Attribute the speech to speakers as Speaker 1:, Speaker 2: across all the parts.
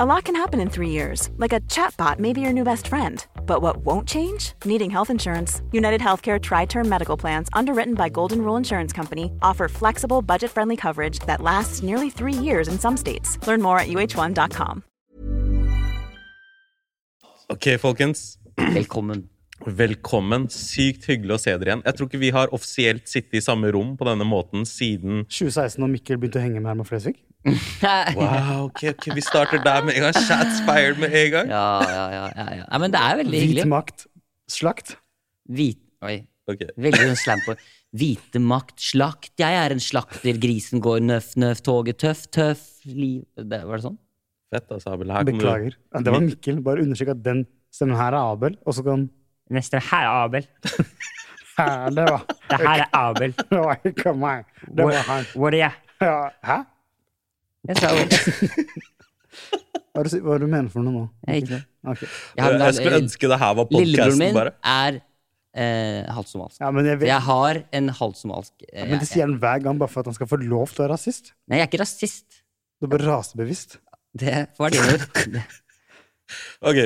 Speaker 1: A lot can happen in three years, like a chatbot may be your new best friend. But what won't change? Needing health insurance. United Healthcare Tri Term Medical Plans, underwritten by Golden Rule Insurance Company, offer flexible, budget friendly coverage that lasts nearly three years in some states. Learn more at uh1.com.
Speaker 2: Ok, folkens.
Speaker 3: Velkommen.
Speaker 2: Velkommen. Sykt hyggelig å se dere igjen. Jeg tror ikke vi har offisielt sittet i samme rom på denne måten siden
Speaker 4: 2016 og Mikkel begynte å henge med Herman Flesvig.
Speaker 2: Wow, ok, ok, vi starter der med en gang. Shots fired med en gang.
Speaker 3: Ja, ja, ja. ja, ja. Nei, men det er veldig
Speaker 4: Hvit
Speaker 3: hyggelig.
Speaker 4: makt. Slakt.
Speaker 3: Hvit, oi,
Speaker 2: Ok.
Speaker 3: Veldig sånn slam på Hvite makt, slakt, jeg er en slakter, grisen går nøff, nøff, toget tøff, tøff, liv det, Var det sånn?
Speaker 2: Fett, altså, Abel. Her kommer du-
Speaker 4: Beklager. Ja, Det var Mikkel. Bare understrek at den stemmen her er Abel. Og så kan
Speaker 5: Neste her er Abel.
Speaker 4: Hæ, Det var
Speaker 5: Det her er Abel.
Speaker 4: Det var ikke meg. Det var han.
Speaker 5: Hvor er jeg?
Speaker 4: Ja. Hæ?
Speaker 3: Jeg sa jo
Speaker 4: Hva er det du- hva er det du mener for noe nå?
Speaker 3: Jeg gikk ned.
Speaker 4: Ok.
Speaker 3: Jeg har-
Speaker 2: Jeg skulle ønske det her var
Speaker 3: Lillebroren
Speaker 2: podkasten,
Speaker 3: min
Speaker 2: bare.
Speaker 3: er eh, halvt somalisk.
Speaker 4: Ja, men jeg vet,
Speaker 3: Jeg har en halvt somalisk eh,
Speaker 4: men
Speaker 3: jeg,
Speaker 4: det sier han hver gang bare for at han skal få lov til å være rasist.
Speaker 3: Nei, jeg er ikke rasist.
Speaker 4: Det er bare rasebevisst.
Speaker 3: Det får være dine ord. Det-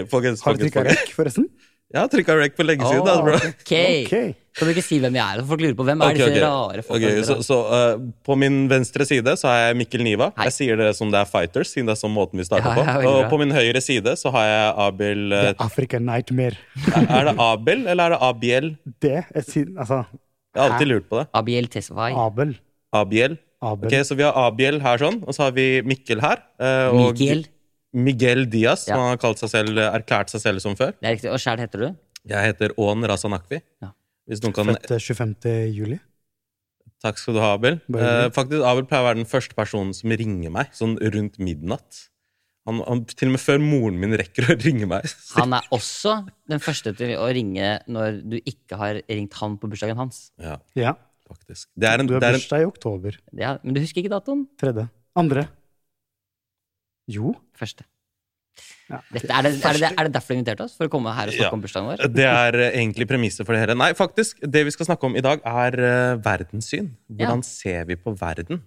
Speaker 2: Ok, folkens.
Speaker 4: Har du
Speaker 2: folkens,
Speaker 4: trykka
Speaker 2: folkens.
Speaker 4: rekk, forresten?
Speaker 2: Jeg har trykka rec på lenge siden. da, bro.
Speaker 3: Ok.
Speaker 4: Ok.
Speaker 3: Kan du ikke si hvem jeg er? så Folk lurer på hvem er
Speaker 2: Ok,
Speaker 3: disse
Speaker 2: ok.
Speaker 3: rare
Speaker 2: Ok,
Speaker 3: folka?
Speaker 2: så, så eh, På min venstre side så har jeg Mikkel Niva.
Speaker 3: Hei.
Speaker 2: Jeg sier det som det er fighters, siden det er sånn måten vi starter
Speaker 3: Ja, ja,
Speaker 2: på.
Speaker 3: veldig
Speaker 2: Og
Speaker 3: bra.
Speaker 2: på min høyre side så har jeg Abel eh,
Speaker 4: Det er Africa Nightmare.
Speaker 2: Er det Abel eller er det Abiel?
Speaker 4: Det er siden Altså,
Speaker 2: Jeg har alltid lurt på det.
Speaker 3: Abiel Tesfay.
Speaker 4: Abel.
Speaker 2: Abiel.
Speaker 4: Abel.
Speaker 2: Ok, Så vi har Abiel her sånn, og så har vi Mikkel her. eh, og
Speaker 3: Miguel.
Speaker 2: Miguel Diaz,
Speaker 3: Ja.
Speaker 2: som han har kalt seg selv, erklært seg selv som før.
Speaker 3: Det er riktig. Og sjæl heter du?
Speaker 2: Jeg heter Ån Razanakvi.
Speaker 3: Ja.
Speaker 2: Hvis noen kan
Speaker 4: Født eh, 25. juli.
Speaker 2: Takk skal du ha, Abel.
Speaker 4: Bare
Speaker 2: Eh,
Speaker 4: hyggelig.
Speaker 2: faktisk, Abel pleier å være den første personen som ringer meg sånn rundt midnatt. Han, han, til og med før moren min rekker å ringe meg.
Speaker 3: Han er også den første til å ringe når du ikke har ringt han på bursdagen hans.
Speaker 2: Ja,
Speaker 4: Ja.
Speaker 2: faktisk. Det er en,
Speaker 4: Du har
Speaker 2: det er en
Speaker 4: bursdag i oktober.
Speaker 3: Det er, men du husker ikke datoen?
Speaker 4: Tredje. Andre. Jo.
Speaker 3: Første.
Speaker 4: Ja.
Speaker 3: Dette, er, det, er, det, er det derfor du inviterte oss? For å komme her og snakke
Speaker 2: Ja.
Speaker 3: om bursdagen vår?
Speaker 2: Det er eh, egentlig premisset for det hele. Nei, faktisk, det vi skal snakke om i dag, er eh, verdenssyn. Hvordan ser vi på verden?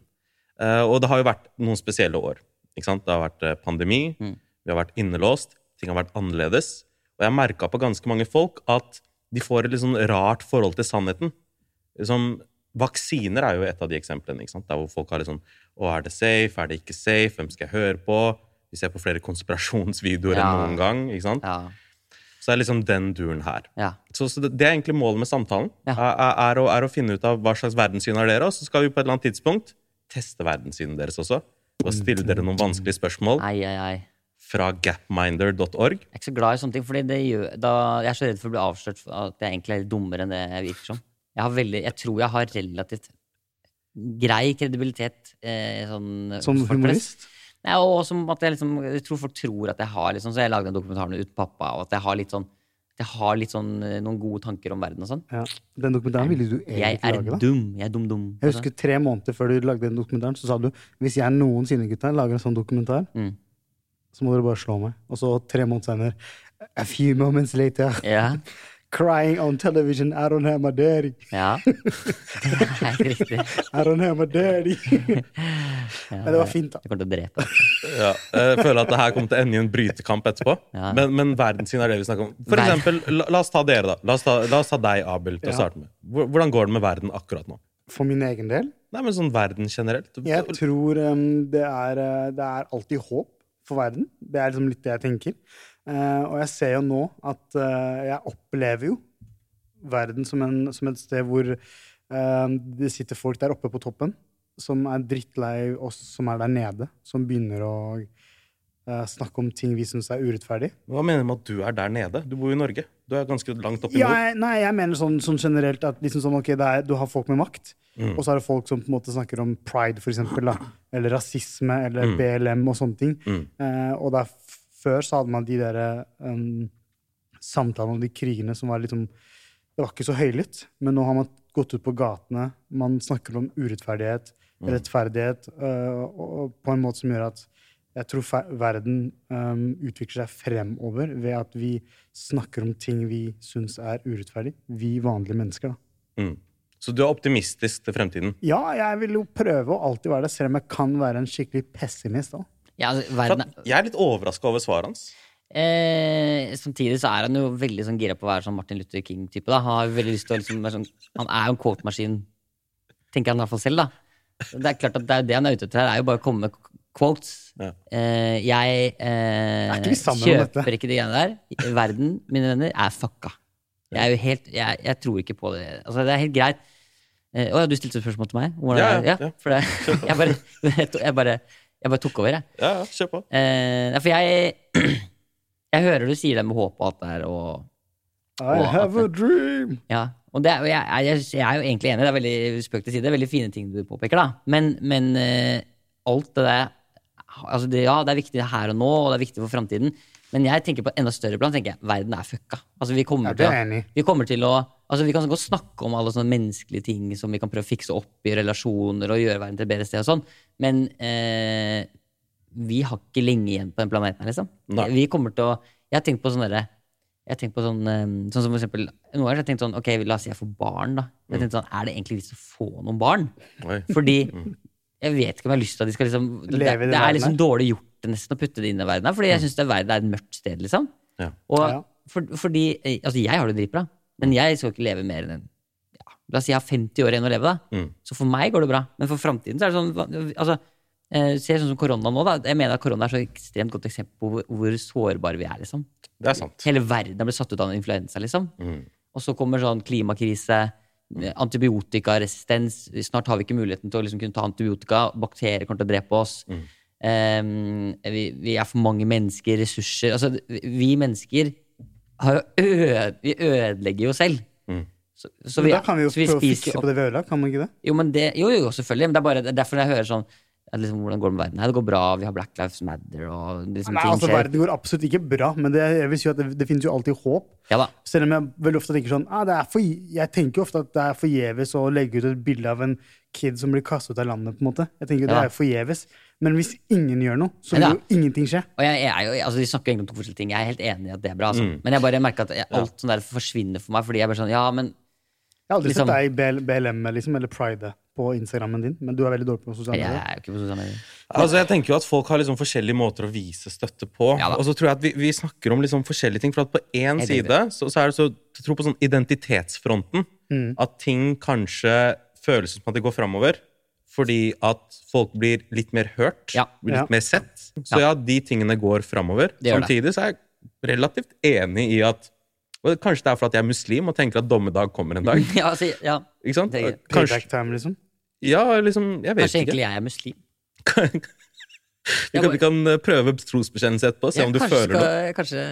Speaker 2: Eh, og det har jo vært noen spesielle år. Ikke sant? Det har vært eh, pandemi,
Speaker 3: Mm.
Speaker 2: vi har vært innelåst, ting har vært annerledes. Og jeg merka på ganske mange folk at de får et litt sånn rart forhold til sannheten. Liksom, vaksiner er jo et av de eksemplene. Ikke sant? Der hvor folk har liksom Å, er det safe? Er det ikke safe? Hvem skal jeg høre på? Vi ser på flere konspirasjonsvideoer enn
Speaker 3: Ja.
Speaker 2: noen gang. Ikke sant?
Speaker 3: Ja.
Speaker 2: Så det er liksom den duren her.
Speaker 3: ja.
Speaker 2: Så, så det det er egentlig målet med samtalen.
Speaker 3: Ja.
Speaker 2: Er, er, er, å, er å finne ut av hva slags verdenssyn har dere, og så skal vi på et eller annet tidspunkt teste verdenssynet deres også. Og stille dere noen vanskelige spørsmål
Speaker 3: Ei, ei, ei.
Speaker 2: fra gapminder.org.
Speaker 3: Jeg er ikke så glad i sånne ting, fordi det gjør, da, jeg er så redd for å bli avslørt for at jeg egentlig er litt dummere enn det jeg virker som. Jeg, har veldig, jeg tror jeg har relativt grei kredibilitet eh, sånn,
Speaker 4: Som
Speaker 3: hos folk flest.
Speaker 4: humorist.
Speaker 3: Nei, og også at jeg, liksom, jeg tror folk tror at jeg har liksom, Så jeg lagde den dokumentaren uten pappa, og at jeg har litt sånn at jeg har litt sånn, eh, noen gode tanker om verden og sånn.
Speaker 4: Ja. Den dokumentaren ville du
Speaker 3: Jeg
Speaker 4: egentlig
Speaker 3: er
Speaker 4: lage, da.
Speaker 3: dum. Jeg er dum-dum.
Speaker 4: Jeg husker tre måneder før du lagde den dokumentaren, så sa du hvis jeg noensinne gutta, lager en sånn dokumentar,
Speaker 3: Mm.
Speaker 4: så må dere bare slå meg. Og så tre måneder senere A few moments later,
Speaker 3: Ja.
Speaker 4: crying on television, I don't have my daddy.
Speaker 3: ja. Det er riktig.
Speaker 4: I don't have my daddy. Men det var fint, da.
Speaker 3: Jeg kommer til å drepe deg.
Speaker 2: Ja, jeg Eh, føler at det her kommer til å ende i en brytekamp etterpå.
Speaker 3: Ja.
Speaker 2: Men, men verden sin er det vi snakker om. For
Speaker 3: Nei.
Speaker 2: eksempel, la, la oss ta dere, da. La oss ta, la oss ta deg, Abel, til å
Speaker 4: Ja.
Speaker 2: starte med. Hvor- Hvordan går det med verden akkurat nå?
Speaker 4: For min egen del.
Speaker 2: Nei, men sånn verden generelt.
Speaker 4: Jeg tror em, det, er, eh, det er alltid håp for verden. Det er liksom litt det jeg tenker. Eh, og jeg ser jo nå at eh, jeg opplever jo verden som, en, som et sted hvor eh, det sitter folk der oppe på toppen som er drittlei oss som er der nede, som begynner å eh, snakke om ting vi syns er urettferdig.
Speaker 2: Hva mener du med at du er der nede? Du bor jo i Norge. Du er ganske langt oppe i
Speaker 4: Ja,
Speaker 2: nord.
Speaker 4: jeg, nei, jeg mener sånn, sånn generelt at liksom sånn, ok, det er, du har folk med makt,
Speaker 2: Mm.
Speaker 4: og så er det folk som på en måte snakker om pride, for eksempel, da, eller rasisme,
Speaker 2: Mm.
Speaker 4: eller BLM og sånne ting. Eh, og der f- før så hadde man de der um, samtalene om de krigene som var liksom Det var ikke så høylytt, men nå har man gått ut på gatene, man snakker om urettferdighet,
Speaker 3: Mm.
Speaker 4: rettferdighet, eh, og, og på en måte som gjør at jeg tror fe- verden ehm, utvikler seg fremover ved at vi snakker om ting vi syns er urettferdig. Vi vanlige mennesker, da.
Speaker 2: Mm. Så du er optimistisk til fremtiden.
Speaker 4: Ja, jeg vil jo prøve å alltid være det, selv om jeg kan være en skikkelig pessimist. da.
Speaker 3: Ja, altså,
Speaker 2: For
Speaker 3: verden
Speaker 2: at jeg er litt overraska over svaret hans.
Speaker 3: Eh, samtidig så er han jo veldig sånn gira på å være sånn Martin Luther King-type. da Han har jo veldig lyst til å liksom være sånn, Han er jo en quote-maskin, tenker han i hvert fall selv. da Så Det er klart at det er jo det han er ute etter her, er jo bare å komme med quotes.
Speaker 2: Ja.
Speaker 3: Eh, jeg eh,
Speaker 4: Er ikke vi sammen om dette?
Speaker 3: kjøper ikke de greiene der. Verden, mine venner, er fucka. Jeg er jo helt Jeg, jeg tror ikke på det. Altså, det er helt greit. Eh, Å ja, du stilte spørsmål til meg? Hvordan
Speaker 2: Ja,
Speaker 3: er det?
Speaker 2: ja,
Speaker 3: ja,
Speaker 2: ja.
Speaker 3: for det, jeg, bare, jeg, bare, jeg bare tok over, jeg.
Speaker 2: Ja, ja, kjør på.
Speaker 3: Eh, nei, for jeg Jeg hører du sier det med håp og alt det der, og
Speaker 4: I
Speaker 3: Og at
Speaker 4: have a dream!
Speaker 3: ja. Og, det, er- og jeg, jeg, jeg er jo egentlig enig, det er veldig spøk til side, det er veldig fine ting du påpeker, da. Men, men eh, alt det der altså det, Ja, det er viktig her og nå, og det er viktig for framtiden, men jeg tenker på et enda større plan. tenker jeg, Verden er fucka. Altså, vi
Speaker 4: Ja,
Speaker 3: kommer
Speaker 4: det
Speaker 3: til
Speaker 4: er
Speaker 3: å
Speaker 4: jeg enig i.
Speaker 3: vi kommer til å Altså, vi kan godt snakke om alle sånne menneskelige ting som vi kan prøve å fikse opp i relasjoner og gjøre verden til et bedre sted og sånn, men eh, vi har ikke lenge igjen på den planeten her, liksom.
Speaker 2: Nei.
Speaker 3: Vi kommer til å Jeg har tenkt på sånn derre jeg har tenkt på sånn, eh, sånn som for eksempel, Noen ganger har jeg tenkt sånn Ok, la oss si jeg får barn, da. Jeg
Speaker 4: Mm.
Speaker 3: har tenkt sånn, Er det egentlig vits å få noen barn?
Speaker 2: Oi.
Speaker 3: Fordi jeg vet ikke om jeg har lyst til at de skal liksom Det, det,
Speaker 4: Mm. Leve i den
Speaker 3: er
Speaker 4: verden
Speaker 3: liksom
Speaker 4: her. Mm.
Speaker 3: dårlig gjort nesten å putte det inn i verden her, fordi jeg syns verden er et mørkt sted, liksom.
Speaker 2: Ja.
Speaker 3: Og
Speaker 4: Ja.
Speaker 3: for, fordi eh, Altså, jeg har det dritbra, men jeg skal ikke leve mer enn en ja, La oss si jeg har 50 år igjen å leve, da.
Speaker 2: Mm.
Speaker 3: Så for meg går det bra. Men for framtiden så er det sånn hva- altså, eh, Ser sånn som korona nå, da. Jeg mener at korona er så ekstremt godt eksempel på hvor, hvor sårbare vi er, liksom.
Speaker 2: Det er sant.
Speaker 3: Hele verden er blitt satt ut av en influensa, liksom.
Speaker 2: Mm.
Speaker 3: Og så kommer sånn klimakrise, antibiotikaresistens. Snart har vi ikke muligheten til å liksom kunne ta antibiotika. Bakterier kommer til å drepe oss. Ehm, vi, vi er for mange mennesker, ressurser Altså, vi mennesker har jo øde, vi ødelegger jo selv. Så, så
Speaker 4: Men da kan vi jo
Speaker 3: så vi
Speaker 4: prøve å
Speaker 3: spiser
Speaker 4: fikse
Speaker 3: opp-
Speaker 4: på det vi ødela, kan man ikke det?
Speaker 3: jo, men det, jo, jo, selvfølgelig. Men det er bare det er derfor jeg hører sånn at liksom, Hvordan går det med verden? Nei, det går bra. Vi har Black Lives Matter og liksom,
Speaker 4: Nei,
Speaker 3: ting
Speaker 4: altså,
Speaker 3: skjer.
Speaker 4: verden går absolutt ikke bra, men det, jeg vil si at det, det finnes jo alltid håp.
Speaker 3: Ja da.
Speaker 4: Selv om jeg veldig ofte tenker sånn ah, det er for, Jeg tenker jo ofte at det er forgjeves å legge ut et bilde av en kid som blir kastet ut av landet. på en måte. Jeg tenker jo det
Speaker 3: Ja.
Speaker 4: er jo forgjeves. Men hvis ingen gjør noe, så
Speaker 3: Ja.
Speaker 4: vil jo ingenting skje.
Speaker 3: Og jeg, jeg er jo, altså, Vi snakker jo egentlig om to forskjellige ting. Jeg er helt enig i at det er bra. Altså.
Speaker 2: Mm.
Speaker 3: Men jeg bare merker at jeg, alt sånn der forsvinner for meg. Fordi jeg bare sånn, ja, men
Speaker 4: Jeg har aldri
Speaker 3: Liksom-
Speaker 4: sett deg i BL, BLM liksom, eller Pride på Instagrammen din, men du er veldig dårlig på sosiale
Speaker 3: jeg
Speaker 4: medier.
Speaker 3: er jo ikke på sosiale medier.
Speaker 2: Altså, jeg tenker jo at Folk har liksom forskjellige måter å vise støtte på.
Speaker 3: Ja da.
Speaker 2: og så tror jeg at vi, vi snakker om liksom forskjellige ting. For at på én
Speaker 3: Jeg
Speaker 2: side så, så er det så Jeg tror på sånn identitetsfronten.
Speaker 3: Mm.
Speaker 2: At ting kanskje føles som at de går framover. Fordi at folk blir litt mer hørt.
Speaker 3: Ja.
Speaker 2: Blir litt
Speaker 4: Ja.
Speaker 2: mer sett. Så ja, de tingene går framover.
Speaker 3: Det gjør det.
Speaker 2: Samtidig så er jeg relativt enig i at og Kanskje det er for at jeg er muslim og tenker at dommedag kommer en dag.
Speaker 3: Ja, altså, ja.
Speaker 2: Ikke sant?
Speaker 3: Det er-
Speaker 2: Kanskje,
Speaker 4: Payback time, liksom.
Speaker 2: ja, liksom, jeg vet
Speaker 3: Kanskje
Speaker 2: ikke.
Speaker 3: egentlig jeg er muslim.
Speaker 2: Vi kan, vi kan eh, prøve trosbekjennelse etterpå, se
Speaker 3: Jeg
Speaker 2: om du
Speaker 3: kanskje
Speaker 2: føler noe.
Speaker 3: skal, Kanskje...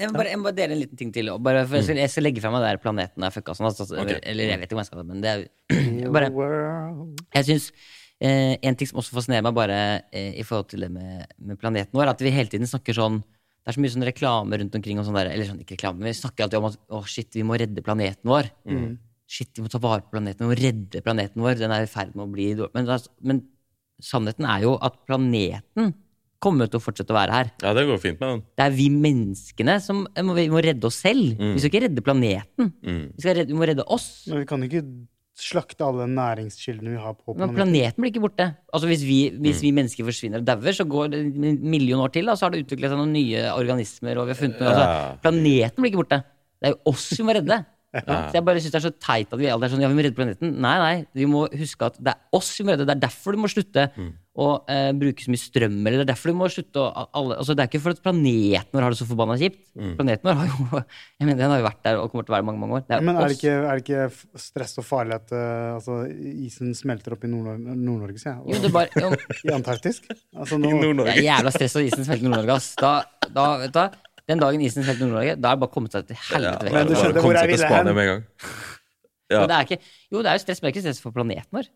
Speaker 3: Jeg må, bare, jeg må bare dele en liten ting til. og Bare, for jeg, skal, jeg skal legge fra meg det der planeten er fucka sånn. Altså,
Speaker 2: Mm. Ok.
Speaker 3: Eller jeg vet ikke om jeg skal det, men det er bare,
Speaker 4: World.
Speaker 3: Jeg synes eh, En ting som også fascinerer meg bare eh, i forhold til det med, med planeten vår, er at vi hele tiden snakker sånn Det er så mye sånn reklame rundt omkring om sånn der, eller sånn, ikke reklame, men vi snakker alltid om at å shit, vi må redde planeten vår. Shit, vi må ta vare på planeten, vi må redde planeten vår. Den er i ferd med å bli dårlig. Men, altså- men sannheten er jo at planeten kommer til å fortsette å være her.
Speaker 2: Ja, det går fint med den.
Speaker 3: Det er vi menneskene som eh, må, vi må redde oss selv. Vi skal ikke redde planeten. Vi, skal redde, vi må redde oss.
Speaker 4: Men vi kan ikke slakte alle næringskildene vi har på
Speaker 3: Men
Speaker 4: planeten.
Speaker 3: planeten blir ikke borte. Altså Hvis vi, hvis
Speaker 4: Mm.
Speaker 3: vi mennesker forsvinner og dauer, så går det en million år til, da, så har det utvikla seg noen nye organismer. Og vi har funnet noe.
Speaker 2: Ja.
Speaker 3: Altså, planeten blir ikke borte. Det er jo oss vi må redde. Så jeg bare synes det er så teit at vi alle er sånn Ja, vi må redde planeten. Nei, nei. Vi må huske at det er oss vi må redde. Det er derfor du må slutte
Speaker 4: Mm.
Speaker 3: å eh, bruke så mye strøm. Eller det er derfor du må slutte å alle, altså, Det er ikke for at planeten vår har det så forbanna kjipt.
Speaker 4: Mm.
Speaker 3: Planeten vår har jo jeg mener, Den har jo vært der og kommer til å være der mange, mange år. Det er,
Speaker 4: Men er det,
Speaker 3: oss.
Speaker 4: ikke, er det ikke f- stress og farlig at eh, altså, isen smelter opp i Nord-Nor- Nord-Norge, sier jeg? Og,
Speaker 3: Jo, det er bare jo,
Speaker 4: I Antarktis? Altså, nå,
Speaker 3: Det er jævla stress når isen smelter Nord-Norge. ass. Da, da, vet du, hva? den dagen isen smelter Nord-Norge, da er det bare å komme seg til helvete vekk.
Speaker 4: men du
Speaker 2: bare
Speaker 4: skjønner
Speaker 2: kom seg
Speaker 4: hvor jeg
Speaker 2: til
Speaker 4: ville
Speaker 2: Spania
Speaker 4: hen.
Speaker 2: med en gang.
Speaker 3: Men Det er ikke, jo, det er jo stress, men det er ikke stress for planeten vår.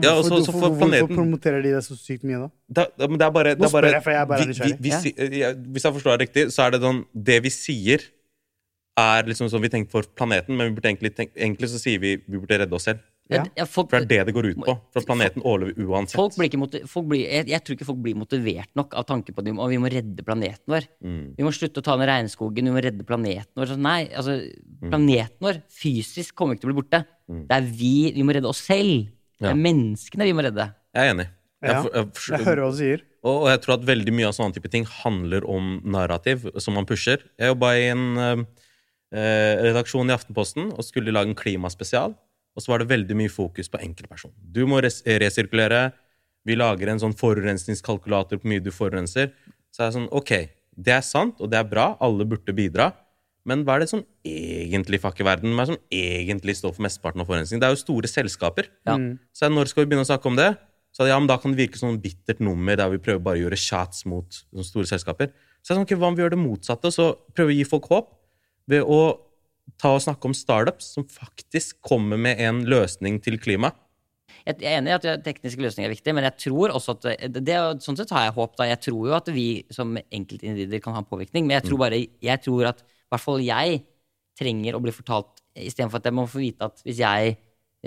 Speaker 2: Ja, og så-
Speaker 4: hvorfor-
Speaker 2: så får
Speaker 4: hvorfor-
Speaker 2: planeten-
Speaker 4: Hvorfor promoterer de det så sykt mye, da?
Speaker 2: Da, da, men det er bare, det er
Speaker 4: spør
Speaker 2: bare,
Speaker 4: jeg, for jeg er bare
Speaker 2: vi, vi,
Speaker 4: nysgjerrig.
Speaker 2: vi,
Speaker 3: Ja.
Speaker 2: si- ja, Hvis jeg forstår det riktig, så er det sånn Det vi sier, er liksom sånn vi tenker for planeten, men vi burde egentlig, tenk, egentlig så sier vi vi burde redde oss selv.
Speaker 4: Ja.
Speaker 3: Ja, folk,
Speaker 2: For det er det det går ut på. For at planeten overlever uansett.
Speaker 3: folk blir ikke moti- folk blir, jeg, jeg tror ikke folk blir motivert nok av tanken på at vi må, vi må redde planeten vår.
Speaker 2: Mm.
Speaker 3: Vi må slutte å ta ned regnskogen, vi må redde planeten vår. Så nei, altså,
Speaker 2: Mm.
Speaker 3: planeten vår fysisk kommer ikke til å bli borte. Det er vi, vi må redde oss selv. Det
Speaker 2: Ja.
Speaker 3: er menneskene vi må redde.
Speaker 2: Jeg er enig. Jeg,
Speaker 4: Ja.
Speaker 2: for- jeg, for-
Speaker 4: Jeg hører hva du sier.
Speaker 2: og, og jeg tror at veldig mye av sånne type ting handler om narrativ som man pusher. Jeg jobba i en eh, eh, redaksjon i Aftenposten og skulle lage en klimaspesial. Og så var det veldig mye fokus på enkeltperson. Du må res resirkulere. Vi lager en sånn forurensningskalkulator på hvor mye du forurenser. Så er det sånn, ok, det er sant, og det er bra. Alle burde bidra. Men hva er det som egentlig fucker verden? Hva er det som egentlig står for mesteparten av forurensning? Det er jo store selskaper.
Speaker 3: Ja.
Speaker 2: Så jeg, når skal vi begynne å snakke om det? Så jeg, ja, men da kan det virke som et bittert nummer der vi prøver bare å gjøre shots mot sånne store selskaper. Så jeg sånn, ok, hva om vi gjør det motsatte, og så prøver vi å gi folk håp ved å ta og snakke om startups som faktisk kommer med en løsning til klima.
Speaker 3: jeg jeg er enig i at tekniske løsninger er viktig, men jeg tror også at det, det, er- Sånn sett har jeg håp. da. Jeg tror jo at vi som enkeltindivider kan ha påvirkning, men jeg tror bare, jeg tror at i hvert fall jeg trenger å bli fortalt istedenfor at jeg må få vite at hvis jeg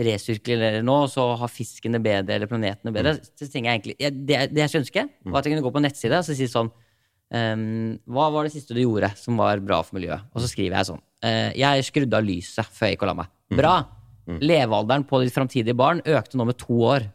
Speaker 3: resirkulerer nå, så har fisken det bedre, eller planeten det bedre. Så trenger jeg egentlig, jeg, det, det jeg skulle ønske, var at jeg kunne gå på en nettside og så si sånn ehm, Hva var det siste du gjorde som var bra for miljøet? Og så skriver jeg sånn. eh, jeg skrudde av lyset før jeg gikk og la meg.
Speaker 2: Mhm.
Speaker 3: Bra! Levealderen på ditt framtidige barn økte nå med to år.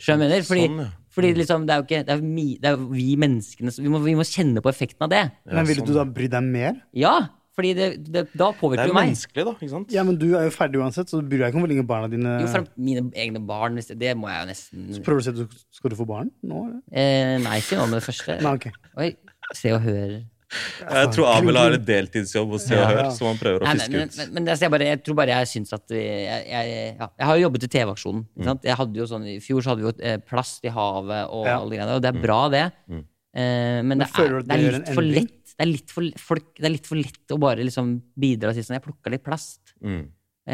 Speaker 3: Skjønner du hva jeg mener? Fordi,
Speaker 2: Sånn, ja.
Speaker 3: fordi liksom, det er jo ikke det er, jo mi, det er jo vi menneskene som vi må, vi må kjenne på effekten av det.
Speaker 4: Men ville
Speaker 2: sånn.
Speaker 4: du da bry deg mer?
Speaker 3: Ja! Fordi det, det, da
Speaker 2: Det
Speaker 3: påvirker
Speaker 2: er
Speaker 3: jo meg.
Speaker 2: menneskelig, da. ikke sant?
Speaker 4: Ja, men du er jo ferdig uansett, så du bryr deg ikke om hvor lenge barna dine
Speaker 3: Jo, fra mine egne barn. Hvis det, det må jeg jo nesten
Speaker 4: Prøver du å si at du skal du få barn nå? eller?
Speaker 3: eh, Nei, ikke nå med det første.
Speaker 4: Nei, ok.
Speaker 3: Oi, se og hør.
Speaker 2: Jeg tror Abel har en deltidsjobb hos Se og
Speaker 4: Ja.
Speaker 2: Hør, som han prøver å
Speaker 3: Nei, men,
Speaker 2: fiske
Speaker 3: men,
Speaker 2: ut.
Speaker 3: men, men altså, jeg, bare, jeg tror bare jeg syns at vi- Jeg, jeg, ja, jeg har jo jobbet i TV-aksjonen. ikke sant? Jeg hadde jo sånn, I fjor så hadde vi jo eh, plast i havet og
Speaker 4: Ja.
Speaker 3: alle de greiene, og det er bra, det. Eh, men det
Speaker 4: føler
Speaker 3: er,
Speaker 4: du at
Speaker 3: det er
Speaker 4: det gjør
Speaker 3: litt
Speaker 4: en
Speaker 3: for
Speaker 4: endring?
Speaker 3: lett. Det er litt for, folk, det er litt for lett å bare liksom bidra og si sånn Jeg plukka litt plast.
Speaker 2: Mm.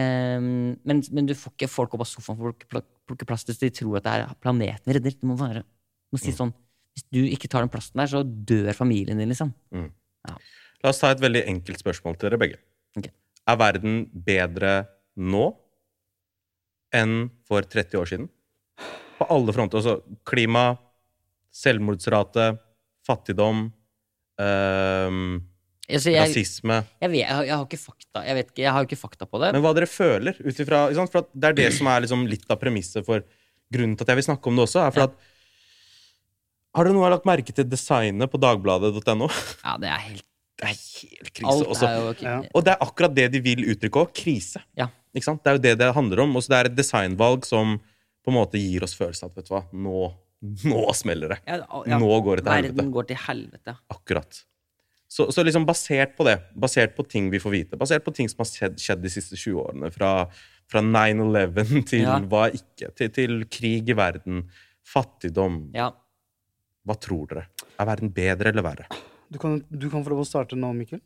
Speaker 3: Eh, men, men du får ikke folk opp av sofaen for å plukke- plak- plukke plast hvis de tror at det er planeten vi redder. Du må være du må si sånn Hvis du ikke tar den plasten der, så dør familien din, liksom.
Speaker 2: La oss ta et veldig enkelt spørsmål til dere begge.
Speaker 3: Ok.
Speaker 2: Er verden bedre nå enn for 30 år siden? På alle fronter. Altså klima, selvmordsrate, fattigdom, øhm,
Speaker 3: Altså, jeg,
Speaker 2: rasisme
Speaker 3: jeg, vet, jeg, har, jeg har ikke fakta Jeg vet ikke, jeg har jo ikke fakta på det.
Speaker 2: Men hva dere føler ut ifra ikke sant? For at det er det som er liksom litt av premisset for grunnen til at jeg vil snakke om det også. er for at Har dere noe lagt merke til designet på dagbladet.no?
Speaker 3: ja, det er helt
Speaker 2: Det er helt krise.
Speaker 3: Alt
Speaker 2: også.
Speaker 3: er jo ikke-
Speaker 4: Ja.
Speaker 2: Og det er akkurat det de vil uttrykke òg. Krise.
Speaker 3: Ja.
Speaker 2: Ikke sant? Det er jo det det handler om. Og så det er et designvalg som på en måte gir oss følelsen av at vet du hva, nå, nå smeller det.
Speaker 3: Ja, ja,
Speaker 2: Nå går det til
Speaker 3: Verden
Speaker 2: helvete.
Speaker 3: går til helvete.
Speaker 2: Akkurat. Så, så liksom basert på det, basert på ting vi får vite, basert på ting som har skjedd, skjedd de siste 20 årene, fra, fra 9-11 til
Speaker 3: Ja.
Speaker 2: hva ikke, til, til krig i verden, fattigdom
Speaker 3: Ja.
Speaker 2: Hva tror dere? Er verden bedre eller verre?
Speaker 4: Du kan, du kan få lov å starte nå, Mikkel.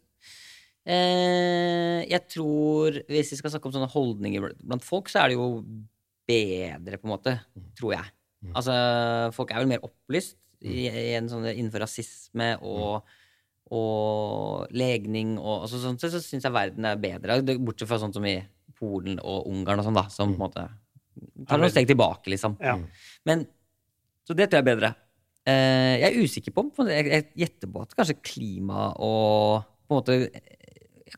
Speaker 3: Eh, jeg tror, hvis vi skal snakke om sånne holdninger bl- blant folk, så er det jo bedre, på en måte.
Speaker 2: Mm.
Speaker 3: Tror jeg. Altså, folk er vel mer opplyst i,
Speaker 2: Mm.
Speaker 3: i en sånn, innenfor rasisme og, og legning og altså, Sånn sett så syns jeg verden er bedre. Det- Bortsett fra sånn som i Polen og Ungarn og sånn, da,
Speaker 2: Mm.
Speaker 3: som på en måte tar noen steg tilbake, liksom.
Speaker 4: Ja.
Speaker 3: Men, så det tror jeg er bedre. Eh, jeg er usikker på, på jeg, jeg gjetter på at kanskje klima og på en måte eh,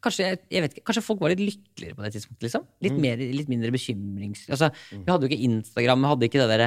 Speaker 3: Kanskje, jeg, jeg vet ikke, kanskje folk var litt lykkeligere på det tidspunktet. liksom. Litt, mer, litt mindre bekymrings... Altså, Vi hadde jo ikke Instagram, vi hadde ikke det der,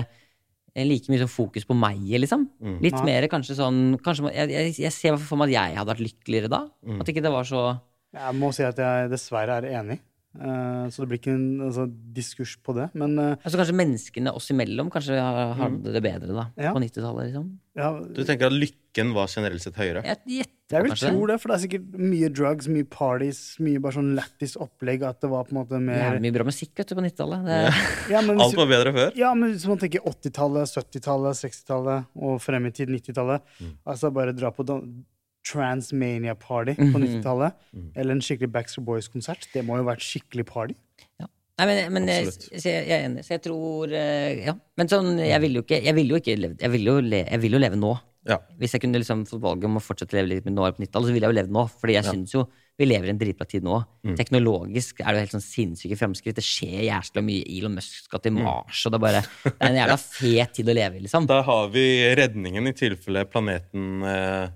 Speaker 3: eh, like mye sånn fokus på meg. liksom. Litt
Speaker 4: Nei.
Speaker 3: mer kanskje sånn kanskje, man- jeg, jeg, jeg ser i hvert fall for meg at jeg hadde vært lykkeligere da. At ikke det var så
Speaker 4: Jeg må si at jeg dessverre er enig. Eh, så det blir ikke en altså, diskurs på det. Men eh,
Speaker 3: altså Kanskje menneskene oss imellom kanskje har- hadde det bedre da,
Speaker 4: Ja.
Speaker 3: på 90-tallet. liksom.
Speaker 4: ja,
Speaker 2: Du tenker at lykken var generelt sett høyere?
Speaker 3: Jeg gjetter
Speaker 4: jeg
Speaker 3: på
Speaker 4: vil
Speaker 3: kanskje det.
Speaker 4: tro det, for det er sikkert mye drugs, mye parties, mye bare sånn lættis opplegg. At det var på en måte mer
Speaker 3: Jævlig mye bra musikk vet du, på 90-tallet. Det-
Speaker 4: ja, men hvis
Speaker 2: Alt
Speaker 4: du-
Speaker 2: var bedre før?
Speaker 4: Ja, men hvis man tenker 80-tallet, 70-tallet, 60-tallet og frem i tid 90-tallet
Speaker 2: Mm.
Speaker 4: Altså bare dra på dan- Transmania Party på
Speaker 3: Mhm.
Speaker 4: 90-tallet.
Speaker 2: Mm.
Speaker 4: Eller en skikkelig Backstreet Boys-konsert. Det må jo være et skikkelig party.
Speaker 3: Nei, men, men jeg,
Speaker 2: Absolutt.
Speaker 3: så jeg, jeg er enig. Så jeg tror eh, Ja. Men sånn, jeg ville jo ikke Jeg ville jo, ikke levd, jeg ville jo, le, jeg ville jo leve nå.
Speaker 2: Ja.
Speaker 3: Hvis jeg kunne liksom fått valget om å fortsette å leve litt med nå, eller på 90-tallet, så ville jeg jo levd nå. Fordi jeg synes jo vi lever i en dritbra tid nå.
Speaker 2: Mm.
Speaker 3: Teknologisk er det jo helt sånn sinnssyke fremskritt. Det skjer jævla mye. Elon Musk skal
Speaker 2: Mm.
Speaker 3: til Mars, og det er bare det er en jævla fet tid å leve i, liksom.
Speaker 2: Da har vi redningen i tilfelle planeten eh,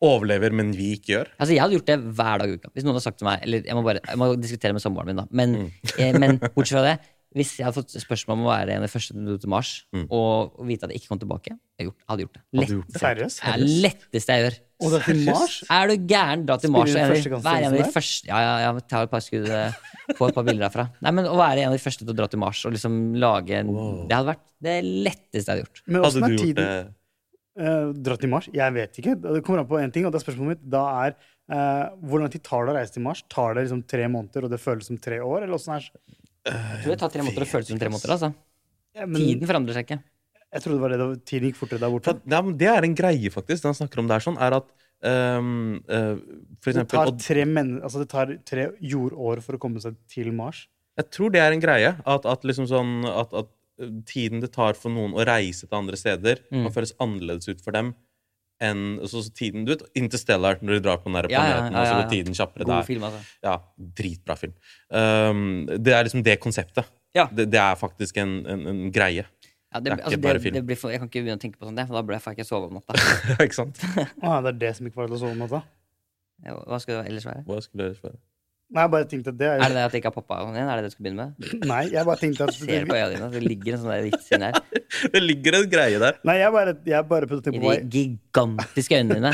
Speaker 2: overlever, men vi ikke gjør.
Speaker 3: Altså, Jeg hadde gjort det hver dag i uka. Hvis noen hadde sagt til meg Eller jeg må bare jeg må diskutere med samboeren min, da. Men, eh, men bortsett fra det, hvis jeg hadde fått spørsmål om å være en av de første til å dra til Mars, og vite at jeg ikke kom tilbake, jeg gjort, hadde gjort det.
Speaker 2: Hadde gjort det.
Speaker 4: Seriøst?
Speaker 3: Det er det letteste jeg gjør.
Speaker 4: Og det er til Mars?
Speaker 3: Er du gæren, dra til Mars og
Speaker 4: Spiller
Speaker 3: en av
Speaker 4: du
Speaker 3: de- være en av de
Speaker 4: førstegangstjenesten
Speaker 3: første Ja, ja, ja, ta et par skudd eh, Få et par bilder derfra. Nei, men Å være en av de første til å dra til Mars og liksom lage en Det hadde vært det letteste jeg hadde gjort.
Speaker 4: Men
Speaker 2: Hadde
Speaker 4: åssen
Speaker 2: du
Speaker 4: er
Speaker 2: gjort det?
Speaker 4: tiden uh, dratt til Mars? Jeg vet ikke. Det kommer an på én ting, og det er spørsmålet mitt. Da er eh, hvor lang tid tar det å reise til Mars? Tar det liksom tre måneder, og det føles som tre år? Eller åssen er det?
Speaker 3: Jeg tror det tar tre måneder å føle som tre måneder. altså.
Speaker 4: Ja, men
Speaker 3: Tiden forandrer seg ikke.
Speaker 4: Jeg trodde det var det da tiden gikk fortere der borte.
Speaker 2: For, at- ja, men det er en greie, faktisk. Det han snakker om der, sånn, er at ehm, eh, for
Speaker 4: Det
Speaker 2: eksempel,
Speaker 4: tar,
Speaker 2: og
Speaker 4: tre men altså, det tar tre jordår for å komme seg til Mars.
Speaker 2: Jeg tror det er en greie. At, at, liksom sånn, at, at eh, tiden det tar for noen å reise til andre steder,
Speaker 3: Mm.
Speaker 2: kan føles annerledes ut for dem enn så, så tiden du vet, Interstellar, når de drar på den der
Speaker 3: Ja, ja, ja,
Speaker 2: planeten,
Speaker 3: ja,
Speaker 2: og så
Speaker 3: ja.
Speaker 2: går tiden kjappere
Speaker 3: God
Speaker 2: der.
Speaker 3: film, altså.
Speaker 2: Ja, Dritbra film. Ehm, det er liksom det konseptet.
Speaker 3: Ja.
Speaker 2: Det, det er faktisk en, en, en greie.
Speaker 3: Ja, det,
Speaker 2: Det er ikke
Speaker 3: altså,
Speaker 2: bare
Speaker 3: det,
Speaker 2: film.
Speaker 3: det blir for, jeg kan ikke begynne å tenke på sånt, det, for da blir jeg- får jeg ikke sove om natta.
Speaker 2: Ikke sant?
Speaker 4: Å, ja, det er det som ikke var til å sove om natta.
Speaker 3: Hva skal det ellers være?
Speaker 2: Hva skulle jeg spørre?
Speaker 4: Nei, jeg bare tenkte at det er,
Speaker 3: Er det det at jeg ikke har poppa igjen? Er det det du skal begynne med?
Speaker 4: Nei, jeg bare tenkte at
Speaker 3: Ser på
Speaker 4: det,
Speaker 3: øya dine, det ligger en sånn der vits inni her.
Speaker 2: Det ligger en greie der.
Speaker 4: Nei, jeg bare, jeg bare prøvde
Speaker 3: I
Speaker 4: å tenke på
Speaker 3: de
Speaker 4: hva
Speaker 3: gigantiske øynene dine.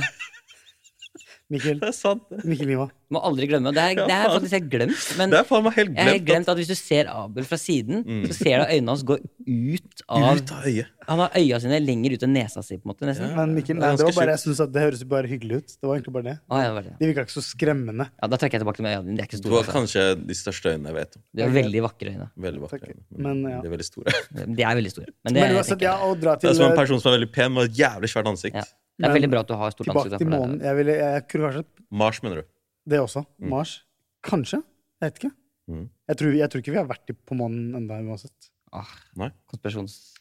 Speaker 4: Mikkel,
Speaker 2: Det er sant. det.
Speaker 4: Mikkel Lima.
Speaker 3: Må aldri glemme. og Det er, det er faktisk helt glemt. Men
Speaker 2: Det er faen meg helt
Speaker 3: jeg har helt
Speaker 2: glemt. Mm.
Speaker 3: glemt at hvis du ser Abel fra siden, så ser du øynene hans gå ut av
Speaker 2: Ut av øyet.
Speaker 3: Han har øya sine lenger ut enn nesa si, på en måte. nesten.
Speaker 4: Men
Speaker 2: det
Speaker 4: Mikkel,
Speaker 2: er
Speaker 4: nei, det var
Speaker 2: ganske
Speaker 4: bare, jeg synes at det høres bare hyggelig ut. Det var egentlig bare det.
Speaker 3: Å, ja, det var det.
Speaker 4: De virka ikke så skremmende.
Speaker 3: ja, da trekker jeg tilbake til med øya dine. De er ikke
Speaker 2: Du
Speaker 3: store.
Speaker 2: har
Speaker 3: Altså.
Speaker 2: kanskje de største øynene jeg vet om.
Speaker 3: De er veldig vakre øyne.
Speaker 2: Veldig vakre
Speaker 4: Takk.
Speaker 2: øyne.
Speaker 4: Men, ja.
Speaker 2: De er veldig store.
Speaker 3: De er veldig store. Men det,
Speaker 4: Men
Speaker 3: tenker
Speaker 4: uansett, ja,
Speaker 3: jeg-
Speaker 4: å dra
Speaker 2: Det
Speaker 4: til eh,
Speaker 2: er som en person som er veldig pen, med et jævlig svært ansikt.
Speaker 3: ja. det er
Speaker 4: Men
Speaker 3: veldig bra at du har stort ansikt. da,
Speaker 4: eh, tilbake til
Speaker 3: for
Speaker 4: månen.
Speaker 3: det er-
Speaker 4: Jeg, ville, jeg kunne kanskje
Speaker 2: Mars, mener du?
Speaker 4: det også. Mars. Kanskje. Jeg vet ikke.
Speaker 2: Mm.
Speaker 4: Jeg tror, jeg tror ikke vi har vært i- på månen enda uansett.
Speaker 3: Åh,
Speaker 2: Nei.
Speaker 3: Ah, Konspirasjons...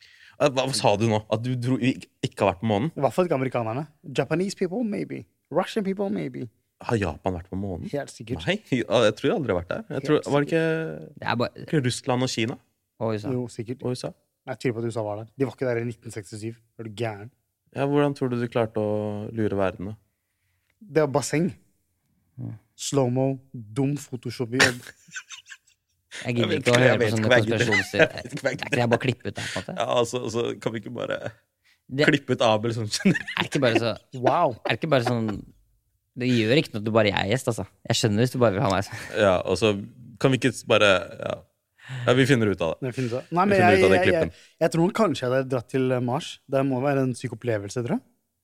Speaker 2: Eh, Hva, hva sa du nå? At du dro, ikke, ikke har vært på månen?
Speaker 4: I hvert fall ikke amerikanerne. Japanese people, maybe. Russian people, maybe.
Speaker 2: Har Japan vært på månen?
Speaker 4: Helt sikkert.
Speaker 2: Nei, ja, jeg tror jeg aldri har vært der. Jeg tror,
Speaker 4: Helt
Speaker 2: var det ikke,
Speaker 3: Det er bare
Speaker 2: ikke Russland og Kina
Speaker 3: Å, USA.
Speaker 4: Jo, sikkert.
Speaker 2: og USA?
Speaker 4: Jeg tviler på at USA var der. De var ikke der i 1967. Er du gæren?
Speaker 2: Ja, Hvordan tror du du klarte å lure verden? da?
Speaker 4: Det var basseng.
Speaker 2: Mm.
Speaker 4: Slow-mo, dum Photoshop-jobb.
Speaker 3: Jeg gidder
Speaker 2: Jeg
Speaker 3: ikke å
Speaker 2: vet ikke, jeg
Speaker 3: høre på
Speaker 2: vet
Speaker 3: sånne
Speaker 2: ikke hva jeg gidder.
Speaker 3: konspirasjoner.
Speaker 2: Jeg vet ikke hva jeg
Speaker 3: Jeg, jeg bare klipper ut det. på en måte.
Speaker 2: Ja, altså, altså, Kan vi ikke bare
Speaker 3: Det er
Speaker 2: klippe ut Abel som generelt?
Speaker 3: ikke bare, så,
Speaker 4: Wow!
Speaker 3: er ikke bare sånn Det gjør ikke noe at du bare er gjest, altså. Jeg skjønner hvis du bare vil ha meg som-
Speaker 2: Ja, og så kan vi ikke bare ja. ja, vi finner ut av det.
Speaker 4: Det finnes det. Nei,
Speaker 2: Vi
Speaker 4: men
Speaker 2: finner
Speaker 4: jeg,
Speaker 2: ut av
Speaker 4: jeg,
Speaker 2: den
Speaker 4: jeg, jeg, tror kanskje jeg hadde dratt til eh, Mars. Det må være en syk opplevelse, tror jeg.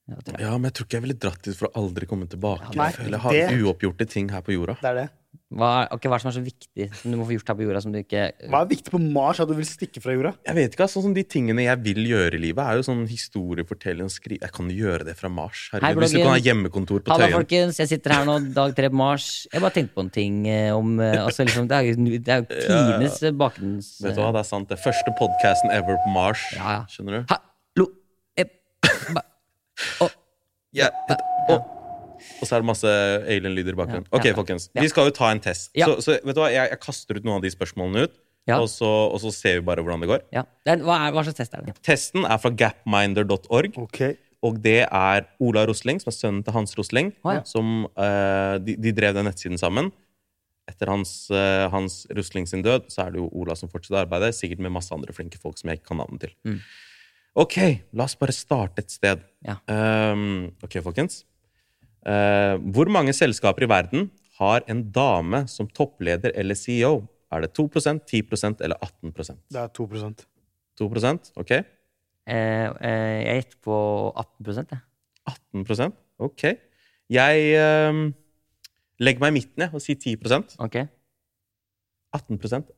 Speaker 3: Ja, det tror jeg.
Speaker 2: Ja, men jeg tror ikke jeg ville dratt dit for å aldri komme tilbake.
Speaker 4: Nei,
Speaker 2: jeg føler jeg har
Speaker 4: det-
Speaker 2: uoppgjorte ting her på jorda.
Speaker 4: Det er det.
Speaker 3: Hva, er- ok, hva er det som er så viktig som du må få gjort her på jorda, som du ikke
Speaker 4: Hva er viktig på Mars at du vil stikke fra jorda?
Speaker 2: Jeg vet ikke, altså, sånn som De tingene jeg vil gjøre i livet, er jo sånn historiefortelling og skrive. Jeg kan jo gjøre det fra Mars.
Speaker 3: Hei,
Speaker 2: Herregud, hvis du
Speaker 3: bloggen.
Speaker 2: kan ha hjemmekontor på
Speaker 3: Halla,
Speaker 2: Tøyen.
Speaker 3: folkens. Jeg sitter her nå, dag tre på Mars. Jeg bare tenkte på en ting eh, om eh, altså, liksom, Det er jo nu- det er jo tidenes eh, bakgrunns...
Speaker 2: Vet du
Speaker 3: eh,
Speaker 2: hva, det er sant. Det er første podcasten ever på Mars.
Speaker 3: Ja, ja.
Speaker 2: Skjønner du?
Speaker 3: Hallo! Eh, ba-
Speaker 2: Ja, et- og, og så er det masse alien-lyder i bakgrunnen.
Speaker 3: Ja,
Speaker 2: Ok,
Speaker 3: ja, ja.
Speaker 2: folkens.
Speaker 3: Ja.
Speaker 2: Vi skal jo ta en test.
Speaker 3: Ja.
Speaker 2: Så, så vet du hva, jeg, jeg kaster ut noen av de spørsmålene ut,
Speaker 3: Ja.
Speaker 2: og, så, og så ser vi bare hvordan det går.
Speaker 3: Ja. Det er, hva, er, hva slags test er det?
Speaker 2: Testen er fra gapminder.org,
Speaker 4: Ok.
Speaker 2: Og det er Ola Rosling, som er sønnen til Hans Rosling.
Speaker 3: Å, ja.
Speaker 2: som, eh, de, de drev den nettsiden sammen. Etter hans, eh, hans Rosling sin død så er det jo Ola som fortsetter arbeidet. Sikkert med masse andre flinke folk som jeg ikke kan navnet til.
Speaker 3: Mm.
Speaker 2: Ok, la oss bare starte et sted.
Speaker 3: Ja.
Speaker 2: Ehm, ok, folkens. Eh, hvor mange selskaper i verden har en dame som toppleder eller CEO? Er det 2 10 eller 18
Speaker 4: Det er 2 Det
Speaker 2: 2 ok?
Speaker 3: Eh, eh, jeg gjetter på 18 jeg.
Speaker 2: 18 Ok. Jeg ehm, legger meg i midten jeg, og sier 10 18
Speaker 3: Ok.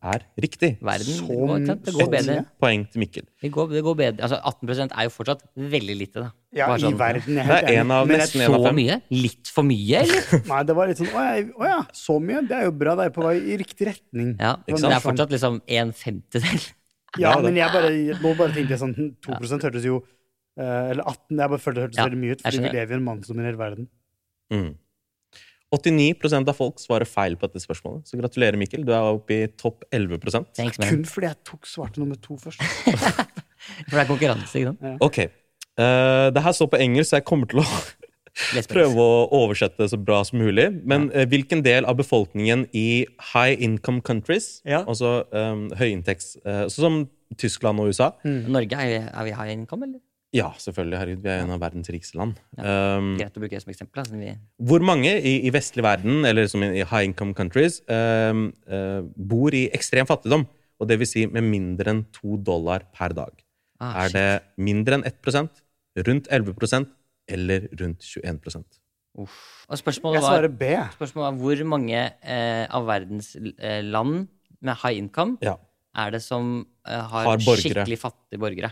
Speaker 2: er riktig.
Speaker 3: Verden
Speaker 4: Så
Speaker 3: det går, ikke sant? det
Speaker 4: mye.
Speaker 3: går bedre.
Speaker 2: Poeng til Mikkel.
Speaker 3: Det går, det går bedre. Altså, 18 er jo fortsatt veldig lite, da.
Speaker 4: Ja,
Speaker 3: Bare
Speaker 4: i
Speaker 3: sånn,
Speaker 4: verden. Jeg
Speaker 2: Det
Speaker 4: er helt
Speaker 2: er en
Speaker 4: enig.
Speaker 2: av
Speaker 4: Men jeg-
Speaker 2: nesten en av
Speaker 3: Så
Speaker 2: fem.
Speaker 3: mye? Litt for mye, eller?
Speaker 4: Nei, det var litt sånn Å ja, å ja, så mye? Det er jo bra. Det er på vei i riktig retning.
Speaker 3: Ja,
Speaker 2: Ikke
Speaker 3: men
Speaker 2: sant?
Speaker 3: det er fortsatt liksom en femtedel.
Speaker 4: Ja,
Speaker 2: Ja, det-
Speaker 4: men jeg bare, nå bare tenkte jeg sånn hm, 2 hørtes jo eh, Eller 18 Jeg bare følte det hørtes
Speaker 3: Ja,
Speaker 4: veldig mye
Speaker 3: jeg
Speaker 4: ut, fordi vi
Speaker 3: skjønner.
Speaker 4: lever i en mannsdominert verden.
Speaker 2: Mm. 89 av folk svarer feil på dette spørsmålet. Så gratulerer, Mikkel. Du er oppe i topp 11
Speaker 3: Thanks, man.
Speaker 4: Kun fordi jeg tok svarte nummer to først.
Speaker 3: For det er konkurranse, ikke sant?
Speaker 2: Ok. Eh, det her står på engelsk, så jeg kommer til å
Speaker 3: Les på
Speaker 2: prøve å oversette det så bra som mulig. Men eh, hvilken del av befolkningen i high income countries,
Speaker 4: Ja.
Speaker 2: altså um, høyinntekts... eh, sånn som Tyskland og USA,
Speaker 3: engelsk. Norge, er, vi- er vi high income, eller?
Speaker 2: Ja, selvfølgelig. Herregud, vi er en av verdens rikeste land. Um,
Speaker 3: Greit å bruke det som eksempel. da, siden vi...
Speaker 2: hvor mange i, i vestlig verden, eller som i high income countries, um, eh, bor i ekstrem fattigdom? Og det vil si med mindre enn to dollar per dag.
Speaker 3: Ah,
Speaker 2: er det mindre enn 1 rundt 11 eller rundt 21
Speaker 3: Og spørsmålet
Speaker 4: Jeg
Speaker 3: var,
Speaker 4: svarer B.
Speaker 3: spørsmålet var hvor mange eh, av verdens eh, land med high income
Speaker 2: Ja.
Speaker 3: er det som eh, har,
Speaker 2: Har borgere.
Speaker 3: skikkelig fattige borgere?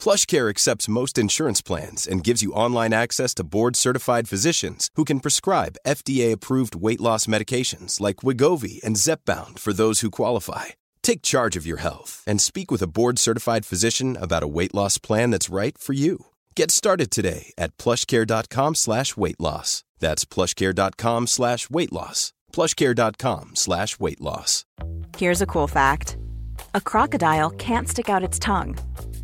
Speaker 6: PlushCare accepts most insurance plans and gives you online access to board-certified physicians who can prescribe FDA-approved weight loss medications like Wigovi and Zepbound for those who qualify. Take charge of your health and speak with a board-certified physician about a weight loss plan that's right for you. Get started today at plushcare.com slash weight loss. That's plushcare.com slash weight loss. plushcare.com slash weight loss.
Speaker 1: Here's a cool fact a crocodile can't stick out its tongue.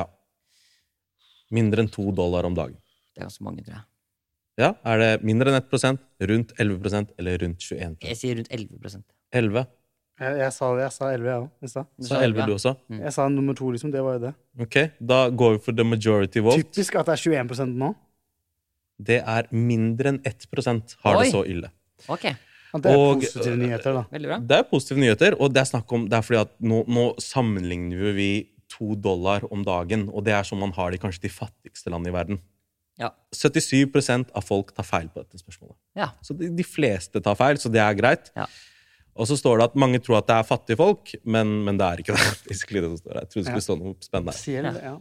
Speaker 2: Ja. Mindre enn to dollar om dagen.
Speaker 3: Det er ganske mange, tror jeg.
Speaker 2: Ja, Er det mindre enn 1 rundt 11 eller rundt 21
Speaker 3: Jeg sier rundt 11
Speaker 2: 11?
Speaker 4: Jeg, jeg, sa, det, jeg sa 11, jeg òg. Jeg, sa.
Speaker 3: Du
Speaker 2: Så
Speaker 3: sa
Speaker 2: 11
Speaker 3: 11,
Speaker 2: du
Speaker 3: ja. Mm.
Speaker 2: også?
Speaker 4: jeg sa nummer to, liksom. Det var jo det.
Speaker 2: Ok, Da går vi for the majority vote.
Speaker 4: Typisk at det er 21 nå.
Speaker 2: Det er mindre enn 1 har
Speaker 3: Oi.
Speaker 2: det så ille.
Speaker 3: Ok,
Speaker 4: At det er
Speaker 2: Og-
Speaker 4: positive nyheter, da.
Speaker 3: veldig bra.
Speaker 2: Det er positive nyheter, og det er snakk om, det er fordi at nå, nå sammenligner vi to dollar om dagen, og det er som man har det i kanskje de fattigste landene i verden.
Speaker 3: Ja.
Speaker 2: 77 av folk tar feil på dette spørsmålet.
Speaker 3: ja.
Speaker 2: Så de, de fleste tar feil, så det er greit.
Speaker 3: Ja.
Speaker 2: Og så står det at mange tror at det er fattige folk, men, men det er ikke det. Basically det som står der. Jeg trodde det skulle stå noe spennende her.
Speaker 4: Selv, ja.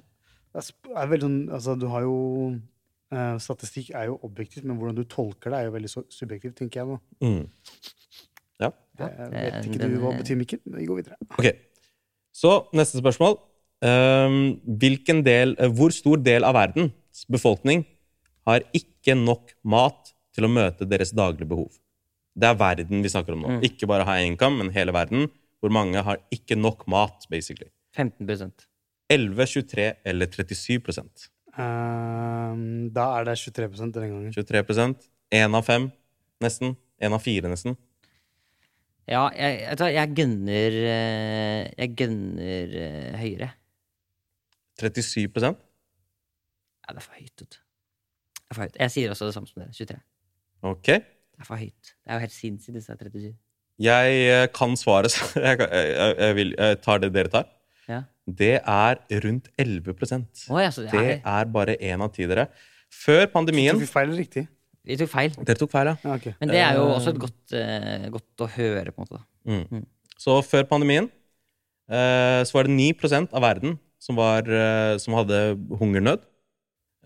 Speaker 4: Det er sp- er veldig sånn, altså, du har jo eh, Statistikk er jo objektivt, men hvordan du tolker det, er jo veldig så subjektivt, tenker jeg. nå.
Speaker 2: Mm. Ja.
Speaker 4: Jeg vet
Speaker 3: det-
Speaker 4: ikke
Speaker 3: Eh, den-
Speaker 4: du hva betyr, Mikkel. men Vi går videre.
Speaker 2: Ok. Så neste spørsmål. Ehm, hvilken del, eh, hvor stor del av verdens befolkning har ikke nok mat til å møte deres daglige behov? Det er verden vi snakker om nå.
Speaker 3: Mm.
Speaker 2: Ikke bare high income, men hele verden. Hvor mange har ikke nok mat, basically?
Speaker 3: 15
Speaker 2: 11, 23 eller 37 prosent?
Speaker 4: Ehm, da er det 23 denne gangen.
Speaker 2: 23 prosent. Én av fem, nesten. Én av fire, nesten.
Speaker 3: Ja, jeg, jeg, tror jeg gønner eh, Jeg gønner eh, høyere.
Speaker 2: 37 prosent.
Speaker 3: Ja, det er for høyt, vet du. Det er for høyt. Jeg sier også det samme som dere. 23.
Speaker 2: Ok.
Speaker 3: Det er for høyt. Det er jo helt sinnssykt, disse 37.
Speaker 2: Jeg eh, kan svaret, så jeg, kan- jeg, jeg, jeg, vil, jeg tar det dere tar.
Speaker 3: Ja.
Speaker 2: Det er rundt 11 prosent.
Speaker 3: Å, ja, så det er-
Speaker 2: Det er bare én av ti, dere. Før pandemien
Speaker 4: Tok vi feil eller riktig?
Speaker 3: Vi tok feil.
Speaker 2: Dere tok feil, ja.
Speaker 3: Men det er jo
Speaker 2: Eh,
Speaker 3: også et godt, eh, godt å høre, på en måte. da.
Speaker 2: Mm. Så før pandemien eh, så var det 9 av verden som, var, eh, som hadde hungernød.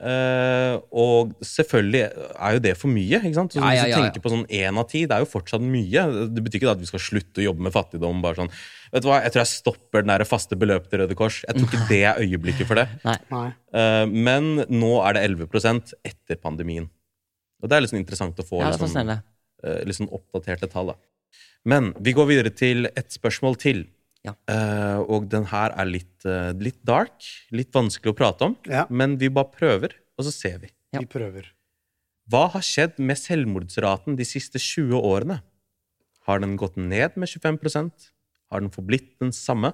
Speaker 2: Eh, og selvfølgelig er jo det for mye. ikke sant? Så
Speaker 3: Ja, ja,
Speaker 2: Hvis
Speaker 3: ja,
Speaker 2: du
Speaker 3: ja.
Speaker 2: tenker på sånn én av ti, det er jo fortsatt mye. Det betyr ikke da at vi skal slutte å jobbe med fattigdom. bare sånn, vet du hva, Jeg tror jeg stopper den der faste beløpet til Røde Kors. Jeg tror ikke det er øyeblikket for det.
Speaker 4: Nei.
Speaker 2: Eh, men nå er det 11 etter pandemien. Og det er litt sånn interessant å få
Speaker 3: Ja, det er
Speaker 2: litt, sånn,
Speaker 3: fascinerende.
Speaker 2: eh, litt sånn oppdaterte tall. Da. Men vi går videre til et spørsmål til. Eh, og den her er litt, eh, litt dark, litt vanskelig å prate om. Men vi bare prøver, og så ser vi.
Speaker 4: Vi prøver.
Speaker 2: Hva har skjedd med selvmordsraten de siste 20 årene? Har den gått ned med 25 Har den forblitt den samme?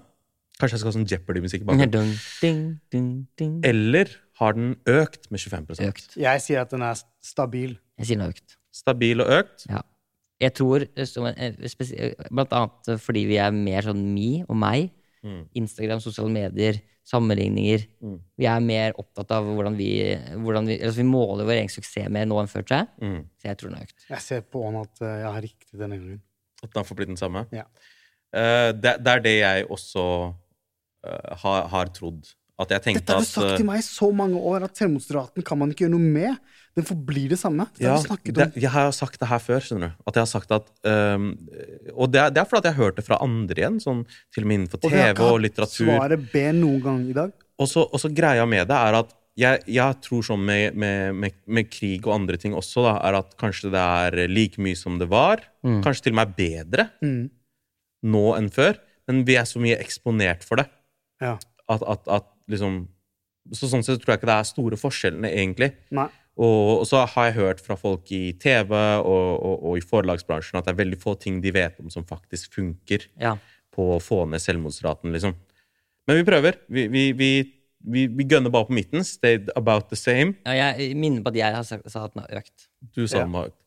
Speaker 2: Kanskje jeg skal ha sånn Jeopardy-musikk bak.
Speaker 3: Dun, ding, dun, ding.
Speaker 2: Eller har den økt med 25
Speaker 4: Jeg sier at den er stabil.
Speaker 3: Jeg sier den er økt.
Speaker 2: Stabil og økt?
Speaker 3: Ja. Jeg tror, eh, som en- eh, spes- eh, blant annet eh, fordi vi er mer sånn me og meg,
Speaker 2: Mm.
Speaker 3: Instagram, sosiale medier, sammenligninger
Speaker 2: Mm.
Speaker 3: Vi er mer opptatt av hvordan vi, hvordan vi altså Vi måler vår egen suksess mer nå enn før, tror jeg.
Speaker 2: Mm.
Speaker 3: Så jeg tror den er økt.
Speaker 4: Jeg ser på han at eh, jeg har riktig denne gangen.
Speaker 2: At den har forblitt den samme?
Speaker 4: Ja.
Speaker 2: Eh, det, det er det jeg også eh, har, har trodd. At jeg tenkte
Speaker 4: Dette har du
Speaker 2: at
Speaker 4: sagt
Speaker 2: eh,
Speaker 4: til meg i så mange år, at selvmordsraten kan man ikke gjøre noe med. Den forblir det samme. Dette
Speaker 2: ja,
Speaker 4: har vi snakket
Speaker 2: det,
Speaker 4: om.
Speaker 2: Jeg har sagt det her før, skjønner du. At jeg har sagt at eh, Og det er, det er fordi at jeg har hørt det fra andre igjen, sånn, til og med innenfor
Speaker 4: vi har
Speaker 2: TV
Speaker 4: ikke
Speaker 2: og
Speaker 4: hatt
Speaker 2: litteratur.
Speaker 4: Svaret B noen gang i dag.
Speaker 2: Og så, og så greia med det er at jeg, jeg tror sånn med, med, med, med krig og andre ting også, da, er at kanskje det er like mye som det var.
Speaker 3: Mm.
Speaker 2: Kanskje til og med bedre
Speaker 4: Mm.
Speaker 2: nå enn før. Men vi er så mye eksponert for det.
Speaker 4: Ja.
Speaker 2: At, at, at liksom Så sånn sett tror jeg ikke det er store forskjellene, egentlig.
Speaker 4: Nei.
Speaker 2: Og, og så har jeg hørt fra folk i TV og, og, og i forlagsbransjen at det er veldig få ting de vet om som faktisk funker
Speaker 3: Ja.
Speaker 2: på å få ned selvmordsraten, liksom. Men vi prøver. Vi, vi, vi, vi, vi gønner bare på midten. Stayed about the same.
Speaker 3: Ja, jeg minner på at jeg har sagt, sa at den har økt.
Speaker 2: Du sa
Speaker 3: Ja.
Speaker 2: den var økt.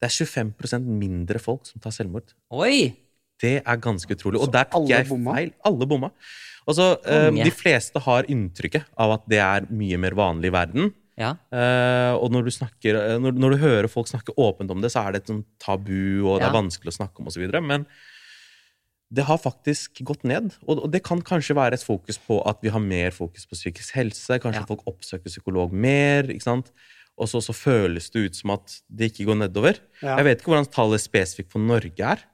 Speaker 2: Det er 25 mindre folk som tar selvmord.
Speaker 3: Oi!
Speaker 2: Det er ganske utrolig. Og der tok
Speaker 3: alle
Speaker 2: jeg
Speaker 3: bomma?
Speaker 2: feil. Alle bomma. Og så, eh,
Speaker 3: Konge.
Speaker 2: de fleste har inntrykket av at det er mye mer vanlig i verden.
Speaker 3: Ja.
Speaker 2: Eh, og når du, snakker, eh, når, når du hører folk snakke åpent om det, så er det et sånt tabu, og det
Speaker 3: Ja.
Speaker 2: er vanskelig å snakke om osv. Men det har faktisk gått ned. Og, og det kan kanskje være et fokus på at vi har mer fokus på psykisk helse. Kanskje folk oppsøker psykolog mer. ikke sant? Og så, så føles det ut som at det ikke går nedover.
Speaker 4: Ja.
Speaker 2: Jeg vet ikke hvordan tallet spesifikt for Norge er,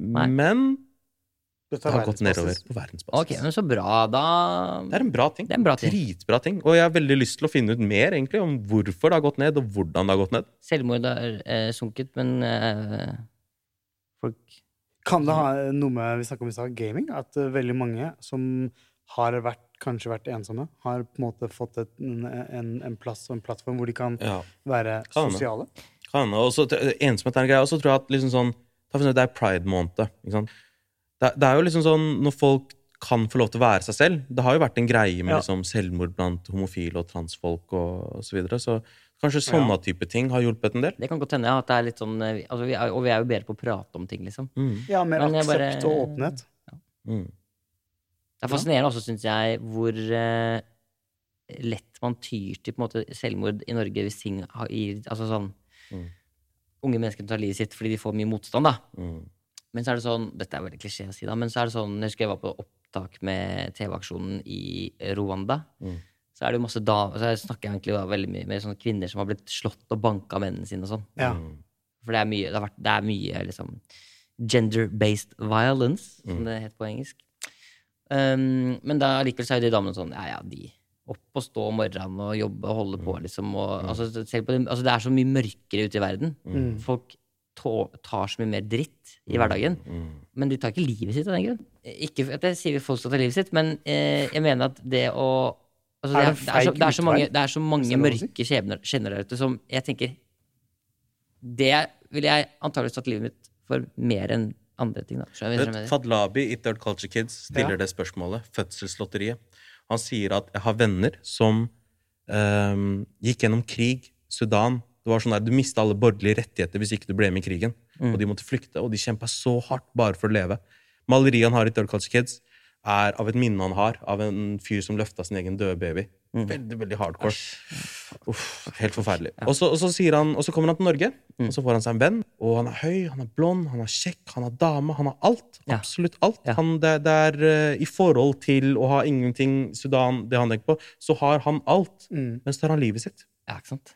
Speaker 2: men
Speaker 4: Dette
Speaker 2: det
Speaker 4: er
Speaker 2: har gått nedover
Speaker 4: verdensbasis.
Speaker 2: på verdensbasis.
Speaker 3: Ok, men så bra, da.
Speaker 2: Det er en bra ting.
Speaker 3: Det er en bra ting.
Speaker 2: Dritbra ting. Og jeg har veldig lyst til å finne ut mer egentlig, om hvorfor det har gått ned, og hvordan det har gått ned.
Speaker 3: Selvmord har eh, sunket, men eh, folk
Speaker 4: Kan det ha noe med vi snakket om i stad, gaming? At eh, veldig mange som har vært, kanskje vært ensomme, har på en måte fått et, en, en, en plass og en plattform hvor de kan
Speaker 2: Ja.
Speaker 4: være
Speaker 2: Kan hende.
Speaker 4: sosiale?
Speaker 2: Kan hende. Og så t- ensomhet er en greie. Og så tror jeg at liksom sånn ta for eksempel, Det er pride-måned. ikke sant? Det, det er jo liksom sånn når folk kan få lov til å være seg selv. Det har jo vært en greie med
Speaker 4: Ja.
Speaker 2: liksom, selvmord blant homofile og transfolk og, og så videre. Så kanskje sånne
Speaker 3: Ja.
Speaker 2: type ting har hjulpet en del.
Speaker 3: Det kan godt hende ja, at det er litt sånn eh, vi- altså, vi er, Og vi er jo bedre på å prate om ting, liksom.
Speaker 2: Mm.
Speaker 4: Ja, mer
Speaker 3: Men jeg bare-
Speaker 4: aksept og åpenhet.
Speaker 3: Det er fascinerende også, syns jeg, hvor eh, lett man tyr til på en måte, selvmord i Norge hvis ting har i- Altså sånn
Speaker 2: Mm.
Speaker 3: Unge mennesker tar livet sitt fordi de får mye motstand, da.
Speaker 2: Mm.
Speaker 3: Men så er det sånn Dette er veldig klisjé å si, da, men så er det sånn Jeg husker jeg var på opptak med TV-aksjonen i Rwanda.
Speaker 2: Mm.
Speaker 3: Så er det jo masse damer Så jeg snakker jeg egentlig da veldig mye med sånne kvinner som har blitt slått og banka av mennene sine og sånn.
Speaker 4: Ja.
Speaker 2: Mm.
Speaker 3: For det er mye, det har vært, det er mye liksom, gender-based violence, som
Speaker 2: Mm.
Speaker 3: det heter på engelsk. Um, men da allikevel så er jo de damene sånn Ja, ja, de. Opp og stå om morgenen og jobbe og holde på, liksom. Og, altså, selv på det, altså, det er så mye mørkere ute i verden.
Speaker 7: Mm.
Speaker 3: Folk tå- tar så mye mer dritt i hverdagen. Men de tar ikke livet sitt av den grunn. Ikke at jeg sier at folk skal ta livet sitt, men eh, jeg mener at det å altså, det,
Speaker 7: Er
Speaker 3: er,
Speaker 7: det
Speaker 3: det, er så,
Speaker 7: feig
Speaker 3: det, er så mange,
Speaker 7: utvei?
Speaker 3: det er så
Speaker 7: Hvis
Speaker 3: mange
Speaker 7: det er lov å si?
Speaker 3: mørke skjebner, skjebner der ute som jeg tenker Det ville jeg antakeligvis tatt livet mitt for mer enn andre ting. Da. Skjønner du hva jeg mener?
Speaker 2: Fadlabi i Third Culture Kids stiller
Speaker 3: Ja.
Speaker 2: det spørsmålet. Fødselslotteriet. Han sier at 'jeg har venner som ehm, gikk gjennom krig, Sudan'. Det var sånn der, Du mista alle borgerlige rettigheter hvis ikke du ble med i krigen.
Speaker 8: Mm.
Speaker 2: Og de måtte flykte, og de kjempa så hardt bare for å leve. Maleriet han har i Third Culture Kids, er av et minne han har av en fyr som løfta sin egen døde baby.
Speaker 8: Mm.
Speaker 2: Veldig, veldig hardcore. Uff, helt forferdelig. Og, så, og, så sier han, og så kommer han til Norge, og så får han seg en venn. Og han er høy, han er blond, han er kjekk, han er dame, han har alt. Absolutt alt. Han, det, det er eh, I forhold til å ha ingenting, Sudan, det han tenker på, så har han alt. Men så tar han livet sitt.
Speaker 3: Ja, ikke sant?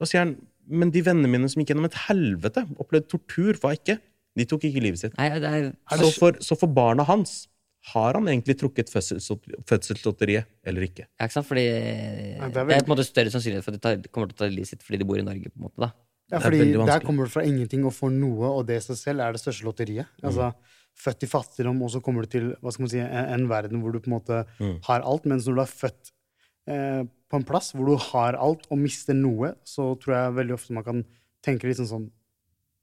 Speaker 2: Og sier han, men de vennene mine som gikk gjennom et helvete, opplevde tortur, hva ikke? De tok ikke livet sitt. så, for, så for barna hans, har han egentlig trukket fødselslot- fødselslotteriet eller ikke?
Speaker 3: Ja, ikke sant? Fordi
Speaker 4: det er
Speaker 3: det er på en måte større sannsynlighet for at de tar, kommer til å ta livet sitt fordi de bor i Norge. på en måte da.
Speaker 4: Ja, fordi Der kommer du fra ingenting og får noe, og det i seg selv er det største lotteriet.
Speaker 2: Mm.
Speaker 4: Altså, Født i fattigdom, og så kommer du til hva skal man si, en, en verden hvor du på en måte
Speaker 7: Mm.
Speaker 4: har alt. Mens når du er født eh, på en plass hvor du har alt, og mister noe, så tror jeg veldig ofte man kan tenke litt sånn sånn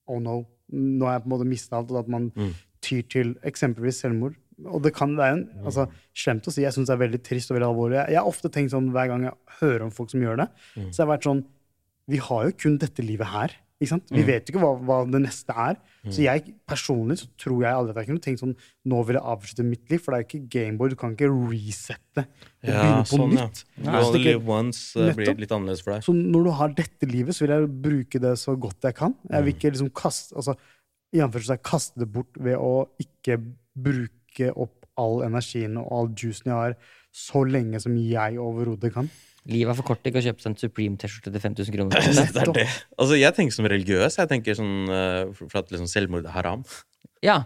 Speaker 4: Oh no, nå har jeg på en måte mista alt. Og at man
Speaker 7: Mm.
Speaker 4: tyr til eksempelvis selvmord. Og det kan det er en, altså, slemt å si. Jeg syns det er veldig trist og veldig alvorlig. Jeg, jeg har ofte tenkt sånn hver gang jeg hører om folk som gjør det.
Speaker 7: Mm.
Speaker 4: Så jeg har vært sånn Vi har jo kun dette livet her. Ikke sant? Vi
Speaker 7: Mm.
Speaker 4: vet jo ikke hva, hva det neste er.
Speaker 7: Mm.
Speaker 4: Så jeg personlig så tror jeg aldri at jeg kunne tenkt sånn Nå vil jeg avslutte mitt liv, for det er jo ikke Gameboy. Du kan ikke resette og begynne på
Speaker 7: sånn,
Speaker 4: nytt.
Speaker 2: You
Speaker 4: Så
Speaker 2: only
Speaker 4: tenker jeg-
Speaker 2: live once eh, blir
Speaker 4: Nettopp.
Speaker 2: litt annerledes for deg.
Speaker 4: så når du har dette livet, så vil jeg bruke det så godt jeg kan. Jeg vil ikke liksom kaste, altså, i anførselstegn kaste det bort ved å ikke bruke opp all energien og all juicen jeg har, så lenge som jeg overhodet kan.
Speaker 3: Livet er for kort til ikke å kjøpe seg en Supreme-T-skjorte til 5000 kroner.
Speaker 2: Det er det. Altså, jeg tenker som religiøs. Jeg tenker sånn, eh, for for at liksom selvmord er haram.
Speaker 3: Ja.